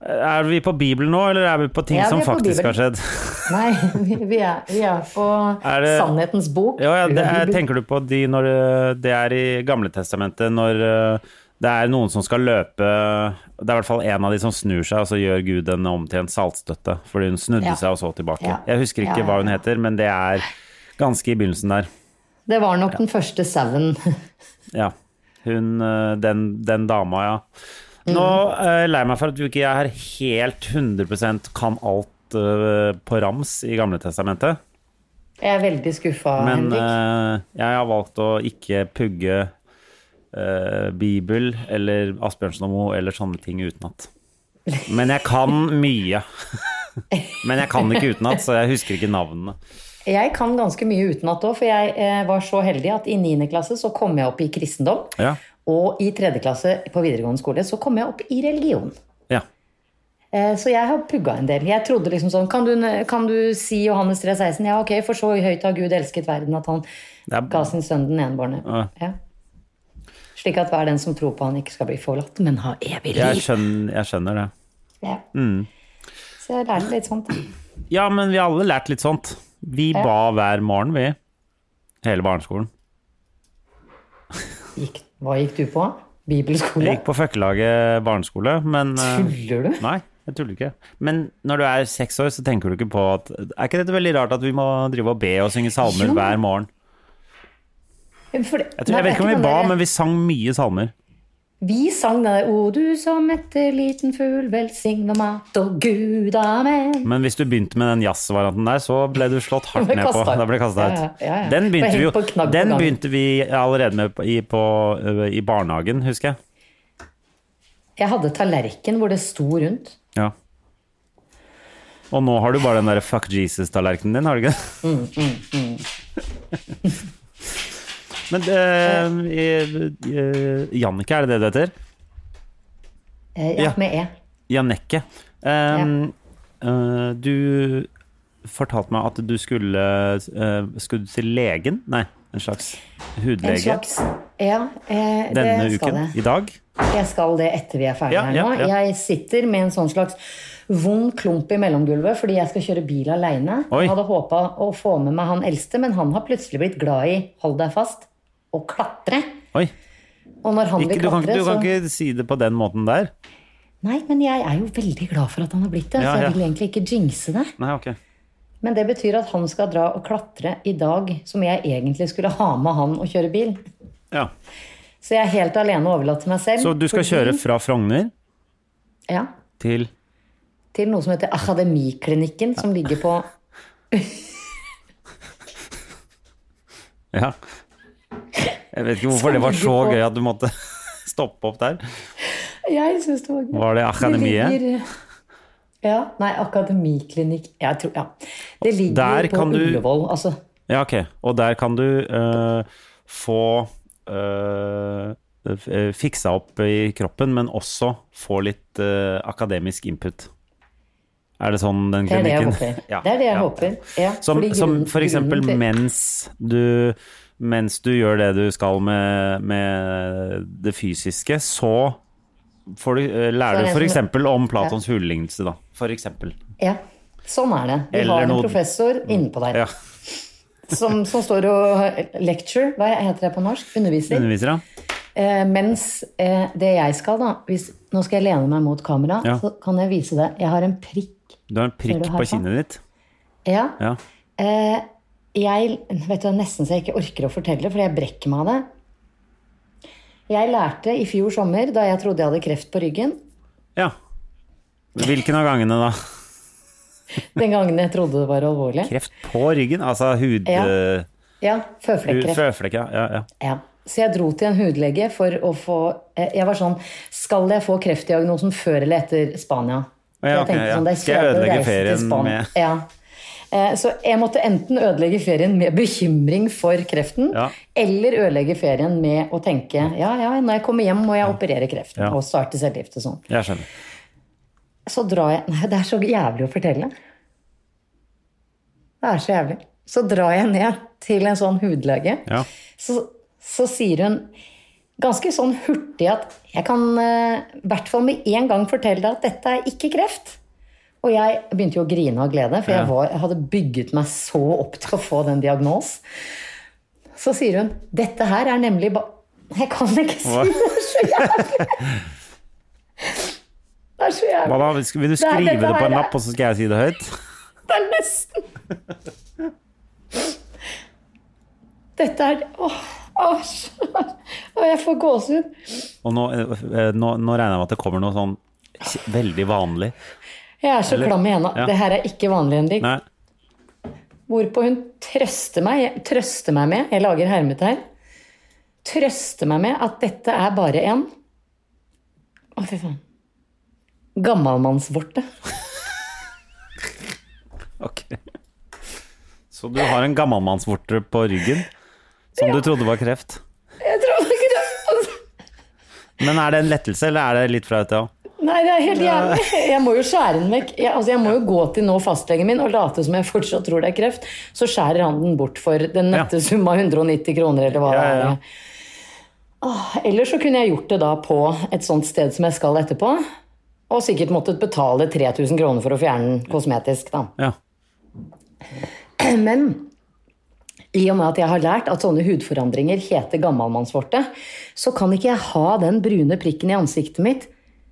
Er vi på Bibelen nå, eller er vi på ting
Ja, vi
som
er på
faktisk
Bibelen.
har skjedd? *laughs*
Nei, *laughs* vi- vi er, vi er på
Er det-
Sannhetens bok.
Ja, ja, det er,
Bibel.
tenker du på de når eh, det er i Gamletestamentet, når eh, det er noen som skal løpe Det er i hvert fall en av de som snur seg, og så gjør Gud henne om til en saltstøtte. Fordi hun snudde
Ja.
seg og så tilbake.
Ja.
Jeg husker
Ja,
ikke
ja,
hva hun
ja.
heter, men det er ganske i begynnelsen der.
Det var nok den første sauen. *laughs*
Ja. Hun eh, Den, den dama, ja. Nå er jeg lei meg for at du ikke jeg er helt 100 kan alt eh, på rams i Gamletestamentet.
Jeg er veldig skuffa,
Men
Henrik.
eh, jeg har valgt å ikke pugge eh, Bibel eller Asbjørnsen og Moe eller sånne ting utenat. Men jeg kan mye. *laughs* Men jeg kan ikke utenat, så jeg husker ikke navnene.
Jeg kan ganske mye utenat òg, for jeg eh, var så heldig at i 9. klasse så kom jeg opp i kristendom.
Ja.
Og i 3. klasse på videregående skole så kom jeg opp i religion.
ja.
Eh, Så jeg har pugga en del. Jeg trodde liksom sånn Kan du, kan du si Johannes 3,16? Ja, ok, for så høyt har Gud elsket verden at han
Det er,
ga sin sønn den enbårne.
Ja.
Ja. Slik at hver den som tror på han, ikke skal bli forlatt, men ha evig
jeg,
liv.
skjønner, jeg skjønner det.
Ja.
Mm.
Så jeg lærte litt sånt.
Ja, men vi har alle lært litt sånt. Vi ba hver morgen, vi. Hele barneskolen.
Gikk, hva gikk du på?
Jeg
Bibelskole?
gikk på Føkkelaget barneskole, men
*laughs*
eh,
Tuller du?
Nei, jeg tuller ikke. Men når du er seks år, så tenker du ikke på at Er ikke dette veldig rart at vi må drive og be og synge salmer
Jo.
hver morgen?
For det-
Jeg,
Nei,
tror, jeg vet
det er
ikke om vi
den
ba,
der-
men vi sang mye salmer.
Vi sang den der 'O du som etter liten fugl velsigna mat og Gud amen'.
Men hvis du begynte med den jazzvarianten der, så ble du
*laughs*
slått hardt
Ble
ned på.
kastet ut.
Da ble kastet ut.
Ja, ja, ja, ja.
Den
Ble
begynte vi
hengt
jo
på knagg på
Den
gangen.
begynte vi allerede med på- i, på, ø, i barnehagen, husker jeg.
Jeg hadde tallerken hvor det sto rundt.
Ja. Og nå har du bare den der fuck Jesus-tallerkenen din, har du ikke?
Mm,
*laughs* Men ehm, ø, ø, Jannicke, er det det du heter?
Eh,
Ja.
ja, med E.
Jannicke. ehm, eh, du fortalte meg at du skulle eh, Skulle du til legen? Nei, en slags hudlege.
En slags Ja, eh,
denne
det skal
uken?
jeg.
I dag?
Jeg skal det etter vi er ferdige
Ja,
her
ja,
nå.
ja.
Jeg sitter med en sånn slags vond klump i mellomgulvet fordi jeg skal kjøre bil aleine.
Oi.
Jeg hadde håpa å få med meg han eldste, men han har plutselig blitt glad i hold deg fast og klatre.
Oi.
Og når han
Ikke,
vil
du, kan, ikke-
klatre,
du kan
så
ikke si det på den måten der?
Nei, men jeg er jo veldig glad for at han har blitt det,
Ja,
så jeg
ja.
vil egentlig ikke jinxe det.
Nei, ok.
Men det betyr at han skal dra og klatre i dag, som jeg egentlig skulle ha med han og kjøre bil.
Ja.
Så jeg er helt alene og overlatt til meg selv.
Så du skal
fordi-
kjøre fra Frogner
Ja.
til
til noe som heter Akademiklinikken, som ligger på
Ja. Jeg vet ikke hvorfor det var så gøy at du måtte *laughs* stoppe opp der.
*laughs* Jeg syns det var gøy.
Var det akademiet?
Det ligger- Ja. Nei, Akademiklinikk Jeg tror, ja. Det ligger
Der
på
kan du-
Ullevål, altså.
Ja, ok. Og der kan du eh, få eh, f- eh, fiksa opp i kroppen, men også få litt eh, akademisk input. Er det sånn den
Det er det jeg
klinikken
håper.
*laughs* Ja,
det er det jeg
ja.
håper. Ja,
Som,
fordi
som
grunnen-
for eksempel
grunnen til-
mens du, mens du gjør det du skal med, med det fysiske, så får du, eh,
Så er
lærer
det
du for
som-
eksempel om Platons hulelignelse, da. For eksempel.
Ja. Sånn er det. Vi
Eller
har en
noe- Mm.
professor innpå der *laughs*
Ja,
som, som står og eh, lecture, hva heter det på norsk? Underviser.
underviser, ja.
Eh, mens eh, det jeg skal, da hvis, Nå skal jeg lene meg mot kamera,
Ja.
så kan jeg vise deg. Jeg har en prikk.
Du har en
Ser
prikk
du her sånn?
på
på?
kinnet ditt.
Ja.
Ja.
Eh, jeg vet du, det er nesten så jeg ikke orker å fortelle, fordi jeg brekker meg av det. Jeg lærte i fjor sommer, da jeg trodde jeg hadde kreft på ryggen
ja. Hvilken av gangene da? *laughs*
Den gangen jeg trodde det var alvorlig.
Kreft på ryggen? Altså hud...
Ja.
eh,
Ja,
hud-
Føflekkreft.
Føflekk, ja. ja, ja.
Ja. Så jeg dro til en hudlege for å få eh, Jeg var sånn Skal jeg få kreftdiagnosen før eller etter Spania?
Å ja,
Jeg tenkte
ok, ja.
sånn, det er
Skal jeg
kjedelig å
ødelegge
reise til
ferien
Span-
med-
Ja. Eh, Så jeg måtte enten ødelegge ferien med bekymring for kreften,
Ja.
eller ødelegge ferien med å tenke ja, ja, når jeg kommer hjem, må jeg operere kreft
Ja.
og starte cellegift og sånn.
Jeg skjønner.
Så drar jeg Nei, det er så jævlig å fortelle. Det er så jævlig. Så drar jeg ned til en sånn hudlege.
Ja.
Så, så sier hun ganske sånn hurtig at jeg kan eh, i hvert fall med en gang fortelle deg at dette er ikke kreft. Og jeg begynte jo å grine av glede, for
Ja.
jeg, var, jeg hadde bygget meg så opp til å få den diagnos. Så sier hun dette her er nemlig ba... Jeg kan ikke si
Hva?
det, det er så jævlig! Det er så jævlig.
Hva da? Skal-
*laughs*
Vil du
er-
skrive
dette
det på
her
en
er-
lapp, og så skal jeg si det høyt?
Det er nesten Dette er Åh, æsj. Åh, Jeg får gåsehud.
Og nå, eh, nå, nå regner jeg med at det kommer noe sånn kj- veldig vanlig.
Jeg er så klam i henda.
ja.
Det her er ikke vanlig, Henrik.
Nei.
Hvorpå hun trøster meg, trøster meg med Jeg lager hermete her. Trøster meg med at dette er bare en Å, fy faen. Gammalmannsvorte.
Ok. Så du har en gammalmannsvorte på ryggen som du trodde var kreft.
Jeg tror ikke det altså.
Men er det en lettelse, eller er det litt flaut, det òg?
Nei, det er helt jævlig. Jeg må jo skjære den vekk. Jeg, altså, jeg må jo gå til nå fastlegen min og late som jeg fortsatt tror det er kreft. Så skjærer han den bort for den nette
Ja.
summa 190 kroner, eller hva
Ja, ja, ja.
det er. Åh, ellers så kunne jeg gjort det da på et sånt sted som jeg skal etterpå. Og sikkert måttet betale 3000 kroner for å fjerne den kosmetisk, da.
Ja.
Men i og med at jeg har lært at sånne hudforandringer heter gammalmannsvorte, så kan ikke jeg ha den brune prikken i ansiktet mitt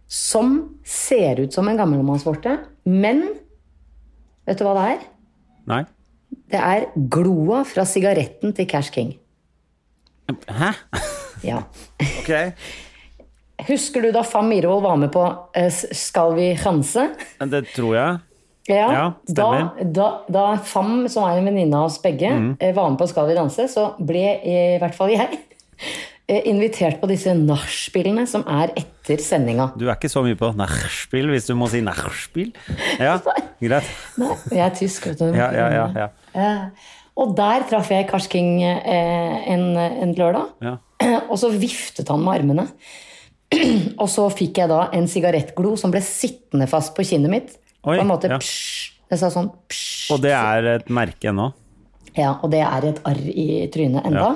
som ser ut som en gammelmannsvorte, men vet du hva det er?
Nei?
Det er gloa fra sigaretten til Cash King.
Hæ?
Ja.
Ok.
Husker du da Fam Mirvold var med på eh, Skal vi danse?
Det tror jeg.
Ja,
Ja,
da,
stemmer. Mhm.
da, da Fam, som er en venninne av oss begge, eh, var med på Skal vi danse, så ble eh, i hvert fall jeg *laughs* eh, invitert på disse nachspielene som er etter sendinga.
Du er ikke så mye på nachspiel, hvis du må si nachspiel. Ja, greit.
Nei, jeg er tysk, vet du.
Ja, ja, ja, ja.
Eh, Og der traff jeg Kars King eh, en, en lørdag.
Ja.
*clears throat* Og så viftet han med armene. *clears throat* Og så fikk jeg da en sigarettglo som ble sittende fast på kinnet mitt.
Oi,
på en måte,
ja.
psj. Jeg sa sånn psj.
Og det er et merke ennå.
Ja, og det er et arr i trynet enda.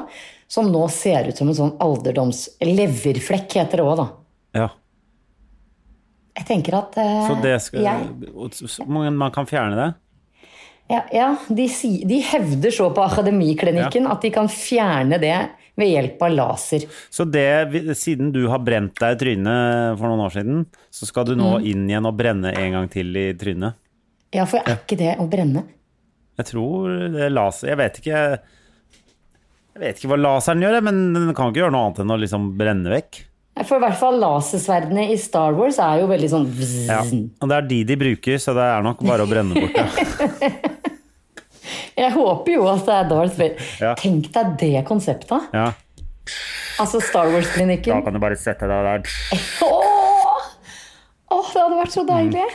Som nå ser ut som en sånn alderdoms... Leverflekk heter det òg, da.
Ja.
Jeg tenker at eh,
Så det skal
jeg,
og så- Man man kan fjerne det?
Ja, ja de, si, de hevder så på Akademiklinikken at de kan fjerne det ved hjelp av laser.
Så det, vi- siden du har brent deg i trynet for noen år siden, så skal du nå inn igjen og brenne en gang til i trynet?
Ja, for er ikke det å brenne?
Jeg tror det er laser Jeg vet ikke Jeg vet ikke hva laseren gjør, jeg, men den kan ikke gjøre noe annet enn å liksom brenne vekk.
For i hvert fall lasersverdene i Star Wars er jo veldig sånn vzz.
Ja. Og det er de de bruker, så det er nok bare å brenne bort. Ja.
Jeg håper jo at det er Darth Vader.
Ja.
Tenk deg det konseptet.
Ja.
Altså Star Wars-klinikken.
*laughs* kan du bare sette deg der.
Åh! Åh, det hadde vært så deilig.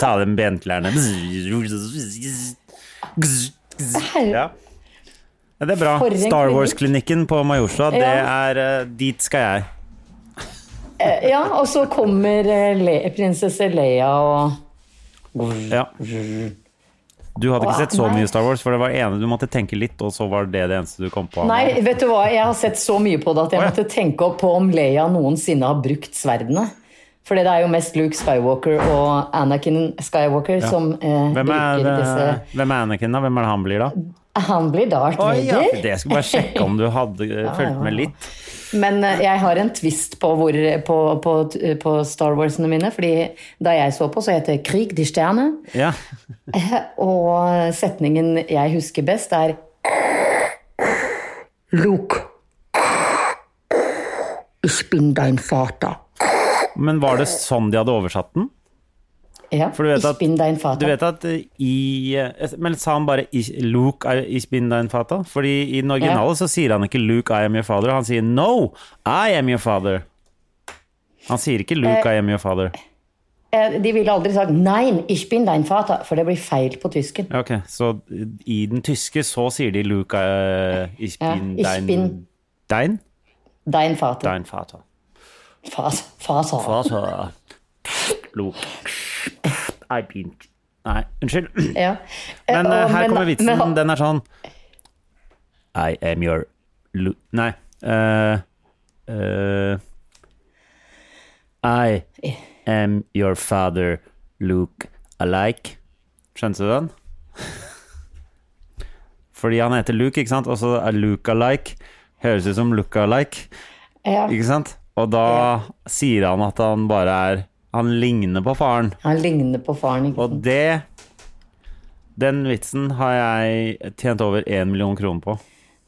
Ta av dem benklærne.
Herre-
Ja. Ja, Det er bra.
For en
Star
klinikk.
Wars-klinikken på Majorstua, det
Ja.
er eh, Dit skal jeg.
Ja, og så kommer eh, Le prinsesse Leia og
Ja. Du hadde ikke
Åh,
sett så
nei.
mye Star Wars, for det var ene du måtte tenke litt, og så var det det eneste du kom på.
Nei, vet du hva, jeg har sett så mye på det at jeg
Å, ja.
måtte tenke opp på om Leia noensinne har brukt sverdene. For det er jo mest Luke Skywalker og Anakin Skywalker som eh,
Hvem er, eh,
bruker disse
hvem er Anakin, da? Hvem er det han blir, da?
Han blir Darth
Oi, ja.
Vader.
Det skulle bare sjekke om du hadde eh, fulgt med litt.
Men eh, jeg har en twist på, hvor, på, på, på Star Warsene mine. fordi da jeg så på, så het det 'Krig de stjerne'.
Ja.
Og setningen jeg husker best, er Luke, ich bin dein Vater.
Men var det sånn de hadde oversatt den?
Ja,
For du vet
ich
at,
bin dein Vater.
du vet at eh, i eh, Men sa han bare "Ich- 'Luke, I, ich bin dein fata'? Fordi i den originale så sier han ikke 'Luke, I am your father'. Han sier 'No, I am your father'. Han sier ikke 'Luke, I am your father'.
Eh, De ville aldri sagt 'nein, ich bin dein Vater', for det blir feil på tysken.
Ja, Ok, så eh, i den tyske så sier de 'Luke, eh, ich
Ja,
bin
ich
dein
bin-
Dein?
Dein Vater.
Dein fata'.
Fas, faser.
Altså Luke. I been Nei, unnskyld.
Ja. Eh,
Men eh,
og-
her
men-
kommer vitsen.
men-
Den er sånn I am your Lu... Nei. eh, eh, I am your father, Luke alike. Skjønte du den? *laughs* Fordi han heter Luke, ikke sant? Og så er Luke alike. Høres ut som Luke alike.
ja.
Ikke sant? Og da sier han at han bare er Han ligner på faren.
Han ligner på faren. Ikke?
Og det Den vitsen har jeg tjent over én million kroner på.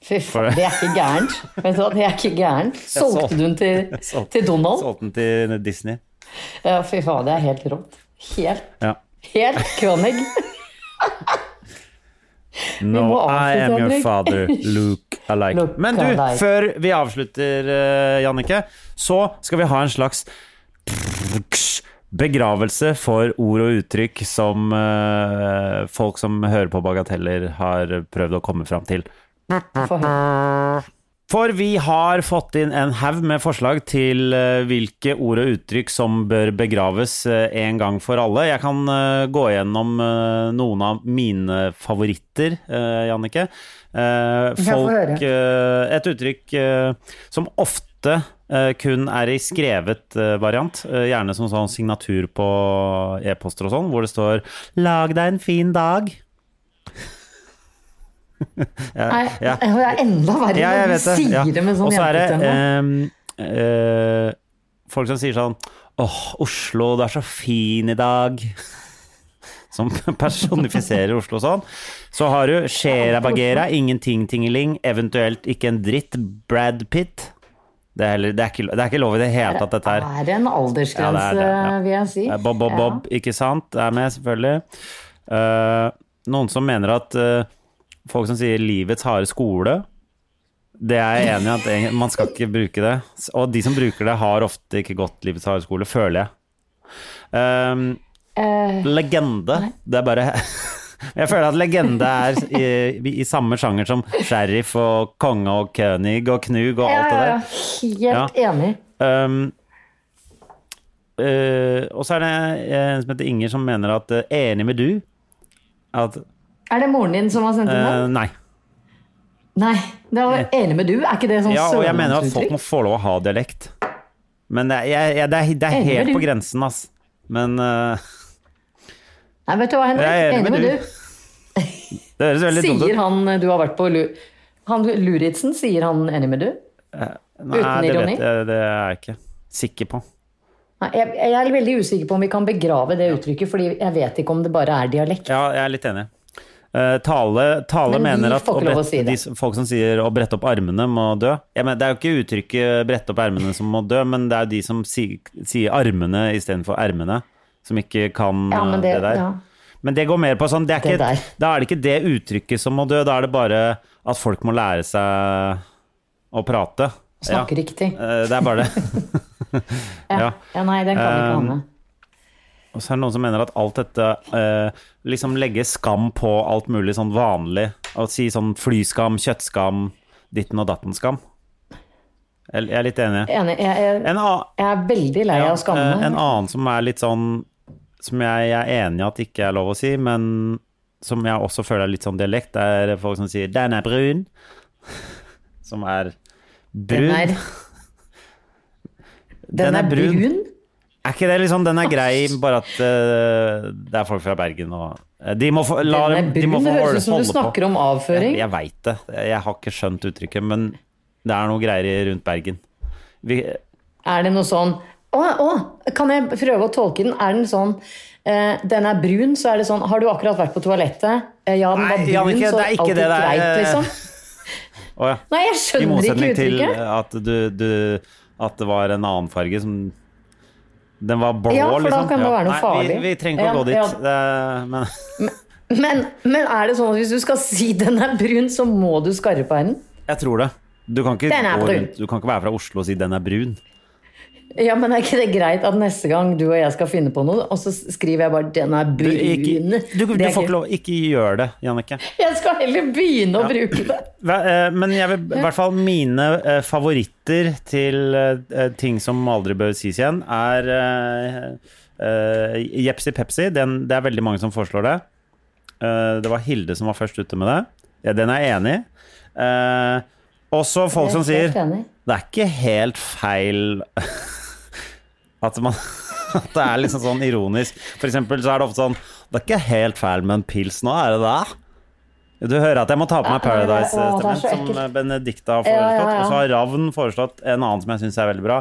Fy faen, det er ikke gærent.
*laughs*
Vet du hva, det er ikke gærent.
solgte-
Solgte du den til,
solgte-
til Donald?
Solgt den til Disney.
Ja, fy faen, det er helt rått. Helt,
Ja.
helt König.
No,
må
I
avslutte,
am your
Henrik.
father, Luke alike.
Look
Men du,
alike.
før vi avslutter, eh, Jannicke, så skal vi ha en slags begravelse for ord og uttrykk som eh, folk som hører på bagateller, har prøvd å komme fram til.
For høyt.
For vi har fått inn en haug med forslag til eh, hvilke ord og uttrykk som bør begraves eh, en gang for alle. Jeg kan eh, gå gjennom eh, noen av mine favoritter, eh, Jannicke. Eh, Folk eh, Et uttrykk eh, som ofte eh, kun er i skrevet eh, variant, eh, gjerne som sånn signatur på e-poster og sånn, hvor det står 'lag deg en fin dag'.
Nei,
ja.
Det er enda verre
Ja, jeg
når du
vet det.
sier
Ja.
det med sånn
Og så er det
jentestemme.
ehm, eh, folk som sier sånn Åh, Oslo, det er så fin i dag. *laughs* som personifiserer Oslo sånn. Så har du Shera Bagheera, ingenting tingeling, eventuelt ikke en dritt, Brad Pitt. Det er, heller, det er, ikke, det er ikke lov i det hele tatt, eh, dette her.
er en aldersgrense,
Ja, det er det, ja.
vil jeg si.
Eh, Bob, Bob, Bob, ikke sant? Er med, selvfølgelig. Eh, noen som mener at eh, folk som sier 'livets harde skole', det er jeg enig i at egen- man skal ikke bruke det. S- Og de som bruker det, har ofte ikke gått livets harde skole, føler jeg. Ehm,
Eh,
legende, det er bare *laughs* Jeg føler at legende er i, i samme sjanger som sheriff og konge og kønig og knug og
Ja,
alt det
ja,
der.
ja. Helt enig.
Um, eh, og så er det en som heter Inger som mener at eh, Enig med du at
Er det moren din som har sendt inn
eh,
den?
Nei.
Nei. Det var enig med du. Er ikke det sånn
Ja, og jeg mener at folk
sørlandsuttrykk?
må få lov å ha dialekt. Men det, er- jeg, jeg, det, er, det
Enig
er
med
helt på
du.
grensen, ass. Men eh,
Nei, vet du hva, Henrik?
Jeg er
Enig med du.
det høres veldig dumt ut.
Sier han eh, du har vært på lu... Han Luritzen, sier han enig med du?
Nei,
uten
det
ironi?
vet jeg, det er jeg ikke sikker på.
Nei, jeg, jeg er veldig usikker på om vi kan begrave det uttrykket, fordi jeg vet ikke om det bare er dialekt.
Ja, jeg er litt enig. Eh, tale tale
Men vi
mener at
får
å
ikke lov å
brette-
si det.
de, som- folk som sier 'å brette opp armene må dø' jeg mener, Det er jo ikke uttrykket 'brette opp ermene' som må dø, men det er jo de som si, sier 'armene' istedenfor 'ermene', som ikke kan
Ja, men
eh, det,
det-
der.
ja.
Men det går mer på sånn det er
Det
ikke,
der.
Da er det ikke det uttrykket som må dø, da er det bare at folk må lære seg å prate.
Snakke riktig.
Eh, Det er bare det. ja.
*laughs* Ja, nei, den kan ikke
Um,
Hanne.
Og så er det noen som mener at alt dette eh, liksom legger skam på alt mulig sånn vanlig. Å si sånn flyskam, kjøttskam, ditten og datten-skam. Jeg jeg er litt enig.
Enig. Jeg, jeg,
En, a
jeg er veldig lei av å
ja,
skamme
eh, en
meg.
annen som er litt sånn Som jeg, jeg er enig i at ikke er lov å si, men som jeg også føler er litt sånn dialekt, er folk som sier 'den er brun'. *laughs* Som er brun.
Den er, den er brun.
Er ikke det liksom, den er grei, bare at eh, det er folk fra Bergen og eh, De må få, la,
Den er
dem- de må
brun.
få
Det høres ut som du
holde på.
snakker om avføring.
Jeg veit det. Jeg har ikke skjønt uttrykket, men det er noe greier i- rundt Bergen. Vi,
Er det noe sånn å, å, kan jeg prøve å tolke den? Er den sånn eh, Den er brun, så er det sånn Har du akkurat vært på toalettet? Eh, ja, den var
Nei,
brun,
Jannicke,
så
det er ikke
alltid
det der,
greit,
eh,
liksom.
å ja.
Nei, jeg
I
skjønner ikke
motsetning til eh,
uttrykket.
at, du, du, at det var en annen farge som Den var blå,
Ja, for da
liksom.
kan det være noe
Nei,
farlig.
vi, vi trenger ikke å
Ja,
gå dit.
ja.
Det- men *laughs*
Men, men er det sånn at hvis du skal si den er brun, så må du skarre på den?
jeg tror det. Du kan, ikke
Den er
gå
brun.
rundt, du kan ikke være fra Oslo og si 'den er brun'.
Ja, men er ikke det greit at neste gang du og jeg skal finne på noe, og så skriver jeg bare 'den er
Du,
brun'?
ikke, du, du
Det er
får ikke
ikke-
lov. Ikke gjør det, Jannicke.
Jeg skal heller begynne å bruke det.
Hva- eh, Men jeg vil i hvert fall mine eh, favoritter til eh, ting som aldri bør sies igjen, er eh, eh, Jepsi Pepsi. Den, det er veldig mange som foreslår det. Eh, Det var Hilde som var først ute med det. Ja, den er jeg enig i. Eh, Også folk *laughs* som
Jeg er
sier
helt enig.
det er ikke helt feil *laughs* at man *laughs* at det er liksom sånn ironisk. For eksempel så er det ofte sånn Det er ikke helt feil med en pils nå, er det det? Du hører at jeg må ta på meg
Nei, nei, nei, å, det er
Paradise-stemmen,
så
som
ekkelt.
Benedicte har
Ja, ja,
foreslått.
ja.
Og så har Ravn foreslått en annen som jeg syns er veldig bra,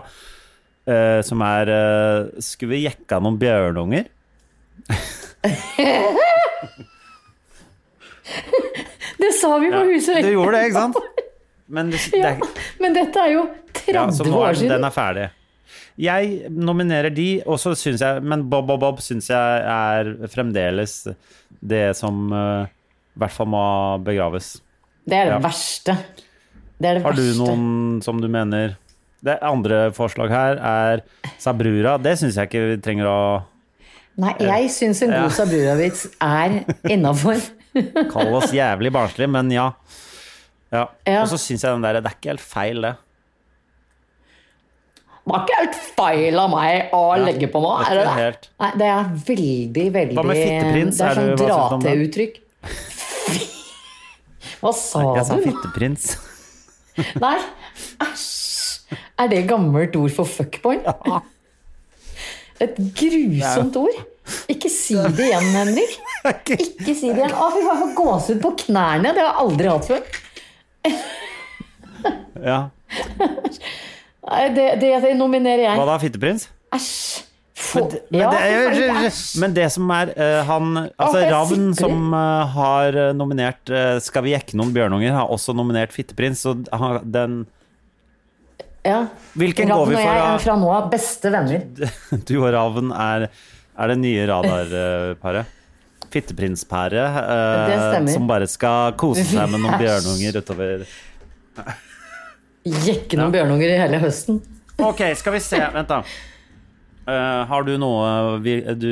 eh, som er eh, Skulle vi jekka noen bjørnunger?
Det sa vi på Husøy.
Du gjorde det, ikke
*laughs*
sant? Men det, det, er-
Men dette er jo 30
Ja, så nå
år
er den,
siden.
den er ferdig. Jeg nominerer de, og så syns jeg Men Bob Bob Bob syns jeg er fremdeles det som eh, i hvert fall må begraves.
Det er det
Ja.
verste. Det er det
Har du
verste.
noen som du mener Det andre forslag her er Sabrura. Det syns jeg ikke vi trenger å
Nei, jeg syns en god Sabrura-vits er innafor.
kalle oss jævlig barnslig, men ja. ja.
Ja.
Og så syns jeg den der Det er ikke helt feil, det.
Det var ikke helt feil av meg å legge på nå.
det er
Er det
ikke
det?
helt.
Nei, det er veldig, veldig
Hva med fitteprins?
Det er
Er du-
sånn
hva synes du om
dra-til-uttrykk. Hva sa
Jeg sa
du? nå?
fitteprins.
Nei, æsj. Er det gammelt ord for fuckboy? Et grusomt ord. Ikke si det igjen, Henrik. Ikke si det igjen. Å, fy faen, jeg får gåsehud på knærne. Det har jeg aldri hatt før.
Ja.
Nei, Det, det, det nominerer
Hva
jeg.
da, fitteprins?
Æsj.
Men, det- men,
Ja,
det,
fy faen,
er,
det
jo- men det som er eh, han Altså,
jeg
Ravn,
sikler.
som eh, har eh, nominert eh, 'Skal vi jekke noen bjørnunger', har også nominert 'Fitteprins', så han, den
Ja.
Hvilken
Ravn
går vi
og
for,
jeg
da?
er fra nå av beste venner.
*laughs* Du og Ravn er, er det nye radarparet. Fitteprinspæret
Det
eh,
stemmer.
som bare skal kose seg
*laughs*
med noen
Vi er
bjørnunger utover
Jekke noen bjørnunger i hele høsten.
Ok, skal vi se. Vent, da. Eh, har du noe vi, du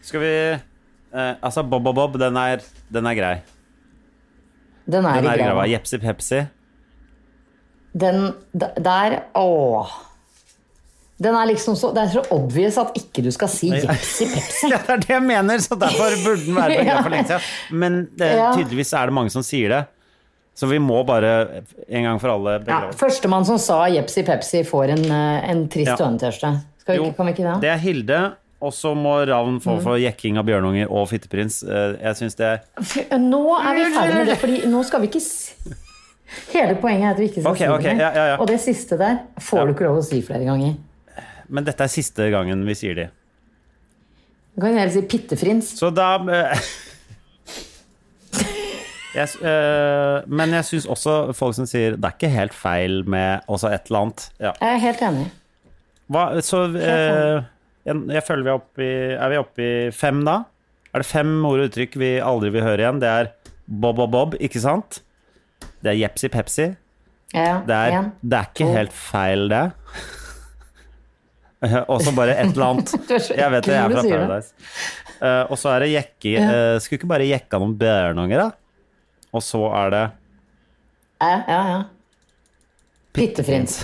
Skal vi eh, Altså, Bob og Bob, den er, den er grei.
Den er,
Den er i
i
grava.
grava.
Jepsi Pepsi.
Den d- der Åh. Den er liksom så Det er så obvious at ikke du skal si Jepsi Pepsi.
*laughs* Ja, det er det jeg mener, så derfor burde den være på
*laughs* Ja.
greia for lenge siden. Men det,
Ja.
tydeligvis er det mange som sier det. Så vi må bare en gang for alle
Ja,
begrave
Førstemann som sa Jepsi Pepsi, får en, eh, en trist
Ja.
hønetørste. Skal vi
Jo,
ikke, kan vi ikke det?
Det er Hilde, og så må Ravn
Mm.
få for jekking av bjørnunger og fitteprins. Eh, Jeg syns det er
Fy, eh, Nå er vi ferdig med det, Fordi nå skal vi ikke s- Hele poenget er at vi ikke skal
Ok,
si det.
ok, ja, ja, ja.
Og det siste der får du ikke lov å si flere ganger.
Men dette er siste gangen vi sier de.
Du kan heller si Pittefrins.
Så da eh, *laughs* jeg, s- eh, Men jeg syns også folk som sier det er ikke helt feil med også et eller annet. Ja.
Jeg er helt enig.
Hva, så eh, jeg, jeg føler vi er oppe i Er vi oppe i fem da? Er det fem ord og uttrykk vi aldri vil høre igjen? Det er Bob og Bob, ikke sant? Det er Jepsi Pepsi.
Ja,
Det er,
en.
det er ikke helt feil, det. *laughs* og så bare et eller annet.
*laughs* Du er så
Jeg vet det, jeg er
ekkel når
fra
du sier det.
Paradise. Eh, og så er det jekke eh, Skulle ikke bare jekka noen bjørnunger, da? Og så er det
Ja, ja, ja. Pittefrins.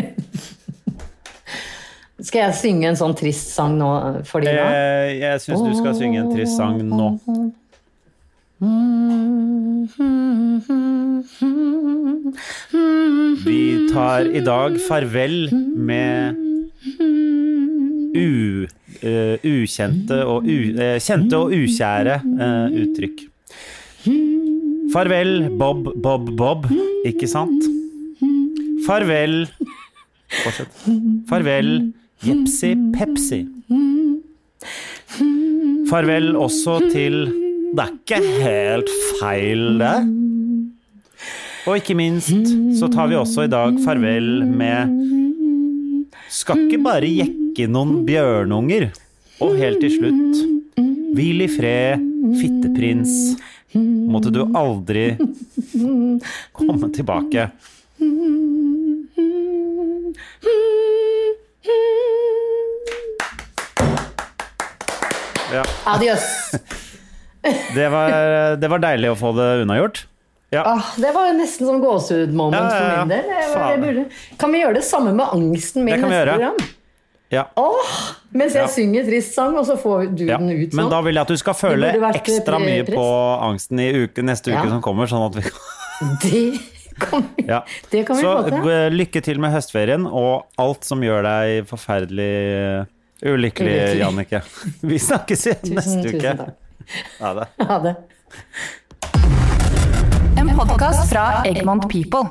*laughs* Skal jeg synge en sånn trist sang nå for dine?
Eh, Jeg syns du skal synge en trist sang nå. Vi tar i dag farvel med u, eh, ukjente og u, eh, kjente og ukjære eh, uttrykk. Farvel, Bob, Bob, Bob, ikke sant? Farvel Fortsett. Farvel, Jepsi Pepsi. Farvel også til Det er ikke helt feil, det. Og ikke minst så tar vi også i dag farvel med Skal ikke bare jekke noen bjørnunger. Og helt til slutt Hvil i fred, fitteprins. Måtte du aldri komme tilbake. Ja.
Adios!
Det var, det var deilig å få det unnagjort. Ja.
Ah, det var jo nesten sånn gåsehud-moment
Ja, ja, ja.
for min del. Det var,
Faen.
det burde. Kan vi gjøre det samme med angsten min
Det kan vi
neste
gjøre.
program?
Ja.
Mens jeg
Ja.
synger trist sang, og så får du
Ja.
den ut sånn.
Men da vil jeg at du skal føle
burde vært eh,
ekstra mye
press.
på angsten i uke, neste uke
Ja.
som kommer. Sånn at vi,
Det kan vi,
ja.
det kan vi
Så
få til.
eh, lykke til med høstferien og alt som gjør deg forferdelig eh, ulykkelig,
Ulykkelig.
Jannicke. *laughs* Vi snakkes igjen
Tusen,
neste uke.
tusen takk.
Ha det.
Ha det.
En podkast fra Egmont People.